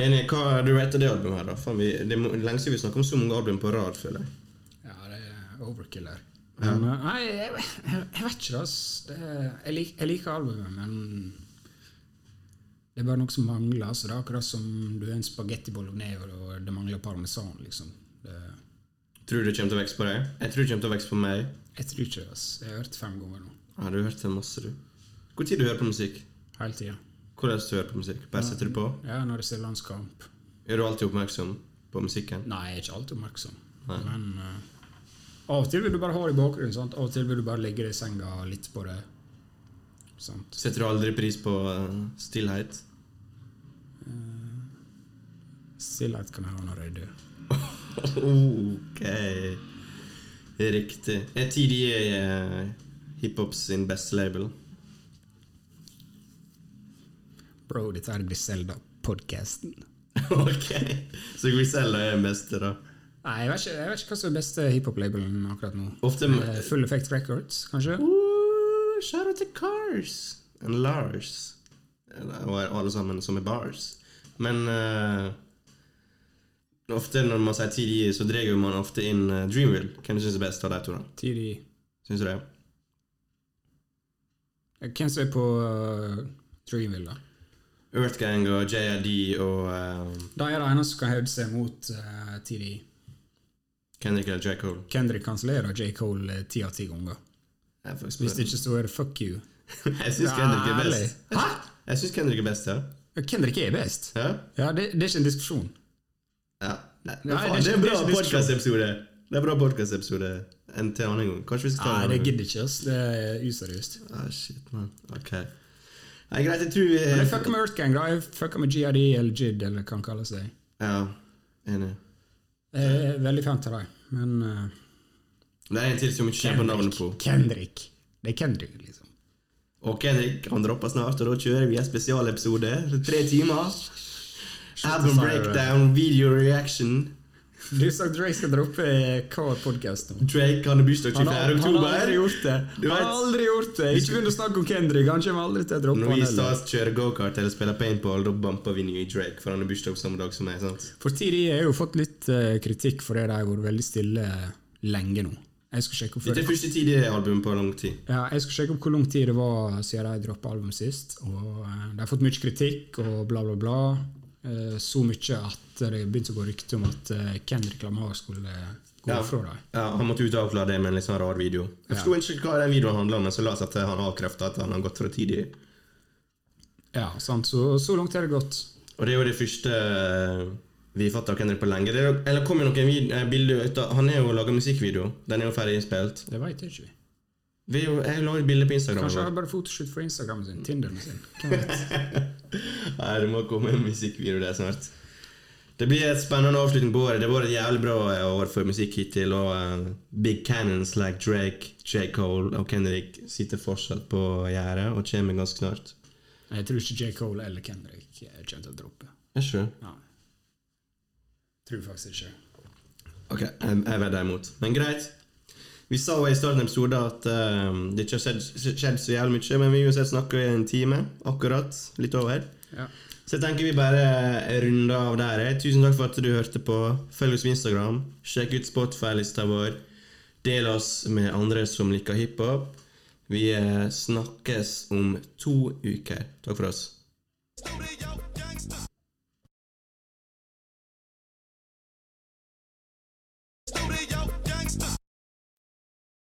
[SPEAKER 2] Enig, hva du rater det albumet her, da? Faen, vi, det er mo- lenge siden vi snakket om så mange album på rad, føler jeg.
[SPEAKER 1] Ja, det er overkiller. Men, eh, Nei, jeg, jeg, jeg vet ikke, ass. Det, er- jeg, lik, jeg liker albumet, men det er bare noe som mangler. Altså, det er akkurat som du er en spagetti bolognese, og det mangler parmesan, liksom. Det,
[SPEAKER 2] Tror du det kommer til å vokse på deg? Jeg tror det kommer til å vokse på meg.
[SPEAKER 1] jeg tror ikke det, ass. Jeg har hørt det fem ganger nå.
[SPEAKER 2] Ja, du har hørt det masse, du. Hvor tid du hører på musikk?
[SPEAKER 1] Hele tida.
[SPEAKER 2] Hvordan du hører på musikk? Bare setter du på?
[SPEAKER 1] Ja, når det er landskamp.
[SPEAKER 2] Er du alltid oppmerksom på musikken?
[SPEAKER 1] Nei, jeg er ikke alltid oppmerksom. Men eh, av og til vil du bare ha det i bakgrunnen. Sant? Av og til vil du bare ligge deg i senga og lytte på det. Sant?
[SPEAKER 2] Setter du aldri pris på eh, stillhet? *laughs*
[SPEAKER 1] Stillhet kan jeg ha når jeg er død.
[SPEAKER 2] Ok. Riktig. Er TDA eh, hiphop sin beste label? *laughs*
[SPEAKER 1] Bro, dette er Griselda-podkasten.
[SPEAKER 2] ok. Så Griselda er den beste, da.
[SPEAKER 1] Nei, jeg vet, ikke, jeg vet ikke hva som er beste hiphop-labelen akkurat nå.
[SPEAKER 2] Ofte
[SPEAKER 1] Eh, Full Effect Records, kanskje?
[SPEAKER 2] Ooh, Shout out til Cars and Lars. Eller, Og alle sammen som er bars. Men eh, ofte når man sier TDA, så drar man ofte inn eh, Dreamville. Hvem syns er best av de to? da?
[SPEAKER 1] Tidlig.
[SPEAKER 2] Syns du det?
[SPEAKER 1] Hvem som er på eh, Dreamville, da?
[SPEAKER 2] Earthgang og JID og eh,
[SPEAKER 1] Da er det eneste som kan hevde seg mot uh, TDI.
[SPEAKER 2] Kendrick eller J. Cole.
[SPEAKER 1] Kendrick kansellerer J. Cole eh, ti av ti ganger.
[SPEAKER 2] Jeg får
[SPEAKER 1] Hvis
[SPEAKER 2] spørre.
[SPEAKER 1] det ikke står 'fuck you'.
[SPEAKER 2] *laughs* Jeg syns Kendrick er
[SPEAKER 1] Ærlig.
[SPEAKER 2] best. Jeg syns- Jeg syns Kendrick er best, ja.
[SPEAKER 1] Ja, Eh, Kendrick er best.
[SPEAKER 2] ja.
[SPEAKER 1] Ja, det, det er ikke en diskusjon.
[SPEAKER 2] ja. Nei,
[SPEAKER 1] Nei,
[SPEAKER 2] faen,
[SPEAKER 1] det er
[SPEAKER 2] det er
[SPEAKER 1] ikke-
[SPEAKER 2] en
[SPEAKER 1] det er
[SPEAKER 2] bra
[SPEAKER 1] ikke diskusjon.
[SPEAKER 2] podkastepisode. Det er en bra podkastepisode en til en annen gang. Kanskje vi skal ta
[SPEAKER 1] Nei,
[SPEAKER 2] en
[SPEAKER 1] det
[SPEAKER 2] annen gang.
[SPEAKER 1] gidder ikke, ass. Det er useriøst.
[SPEAKER 2] Ah, shit, man. Ok. Nei, greit, jeg tror vi
[SPEAKER 1] Men jeg fucker med Earth Gang, da. Jeg fucker med GRD eller JID, eller hva han kaller seg.
[SPEAKER 2] Ja, enig.
[SPEAKER 1] Jeg er veldig fan av dem, men eh,
[SPEAKER 2] Det er en til som vi ikke kjenner på navnet på.
[SPEAKER 1] Kendrick. Det er Kendrick, liksom.
[SPEAKER 2] Og Henrik han dropper snart, og da kjører vi en spesialepisode. Tre timer.
[SPEAKER 1] sa
[SPEAKER 2] Album
[SPEAKER 1] jeg det.
[SPEAKER 2] breakdown, video reaction.
[SPEAKER 1] Du sa Drake skal droppe eh, hver podkast nå.
[SPEAKER 2] Drake han har bursdag
[SPEAKER 1] Han har,
[SPEAKER 2] 24.
[SPEAKER 1] han
[SPEAKER 2] oktober.
[SPEAKER 1] har aldri gjort det.
[SPEAKER 2] Du
[SPEAKER 1] Han har
[SPEAKER 2] vet.
[SPEAKER 1] aldri gjort det. Ikke begynn å snakke om Kendrick. Han kommer aldri til å droppe
[SPEAKER 2] Når
[SPEAKER 1] han
[SPEAKER 2] vi
[SPEAKER 1] heller.
[SPEAKER 2] stas kjører gokart eller spiller paintball, da bumper vi nye Drake, for han har bursdag samme dag som meg. sant?
[SPEAKER 1] For TDI har jo fått litt eh, kritikk for det de har vært veldig stille lenge nå. Jeg skal sjekke opp
[SPEAKER 2] Dette er første TD-album på lang tid.
[SPEAKER 1] Ja, jeg skal sjekke opp hvor lang tid det var siden de droppa albumet sist. Og eh, De har fått mye kritikk og bla, bla, bla. Eh, Så mye at det begynte å gå rykter om at eh, Kendrick Lamar skulle går fra dem.
[SPEAKER 2] Ja, han måtte ut og avklare det med en litt sånn rar video. Jeg forsto ikke hva den videoen handla om, men så la det seg til han avkrefta at han har gått fra tidlig.
[SPEAKER 1] Ja, sant. Så, så langt har det gått.
[SPEAKER 2] Og det er jo det første eh, vi fatta hvem det er på lenge. Det er, jo- eller kom jo noen vid- eh, bilder ut av Han har jo laga musikkvideo. Den er jo ferdig innspilt.
[SPEAKER 1] Det veit ikke vi.
[SPEAKER 2] Vi er jo- Jeg har laget bilde på Instagram.
[SPEAKER 1] Kanskje
[SPEAKER 2] i
[SPEAKER 1] han
[SPEAKER 2] dag.
[SPEAKER 1] bare photoshoot for Instagramen sin. Tinderen sin. Hvem vet?
[SPEAKER 2] Nei, det må komme en musikkvideo der snart. Det blir et spennende avslutning på året. Det var et jævlig bra eh, år for musikk hittil. Og eh, big cannons like Drake, J. Cole og Kendrick sitter fortsatt på gjerdet og kommer ganske snart.
[SPEAKER 1] Jeg tror ikke J. Cole eller Kendrick eh, kommer til å droppe.
[SPEAKER 2] Er ikke det?
[SPEAKER 1] Nei. Tror faktisk ikke.
[SPEAKER 2] Ok, jeg, jeg vedder imot. Men greit. Vi sa jo i starten av episoden at eh, det ikke har skjedd, skjedd så jævlig mye, men vi har uansett snakka i en time, akkurat. Litt over.
[SPEAKER 1] Ja.
[SPEAKER 2] Så jeg tenker vi bare runder av der. jeg. Tusen takk for at du hørte på. Følg oss på Instagram. Sjekk ut Spotify-lista vår. Del oss med andre som liker hiphop. Vi eh, snakkes om to uker. Takk for oss.
[SPEAKER 6] Studio.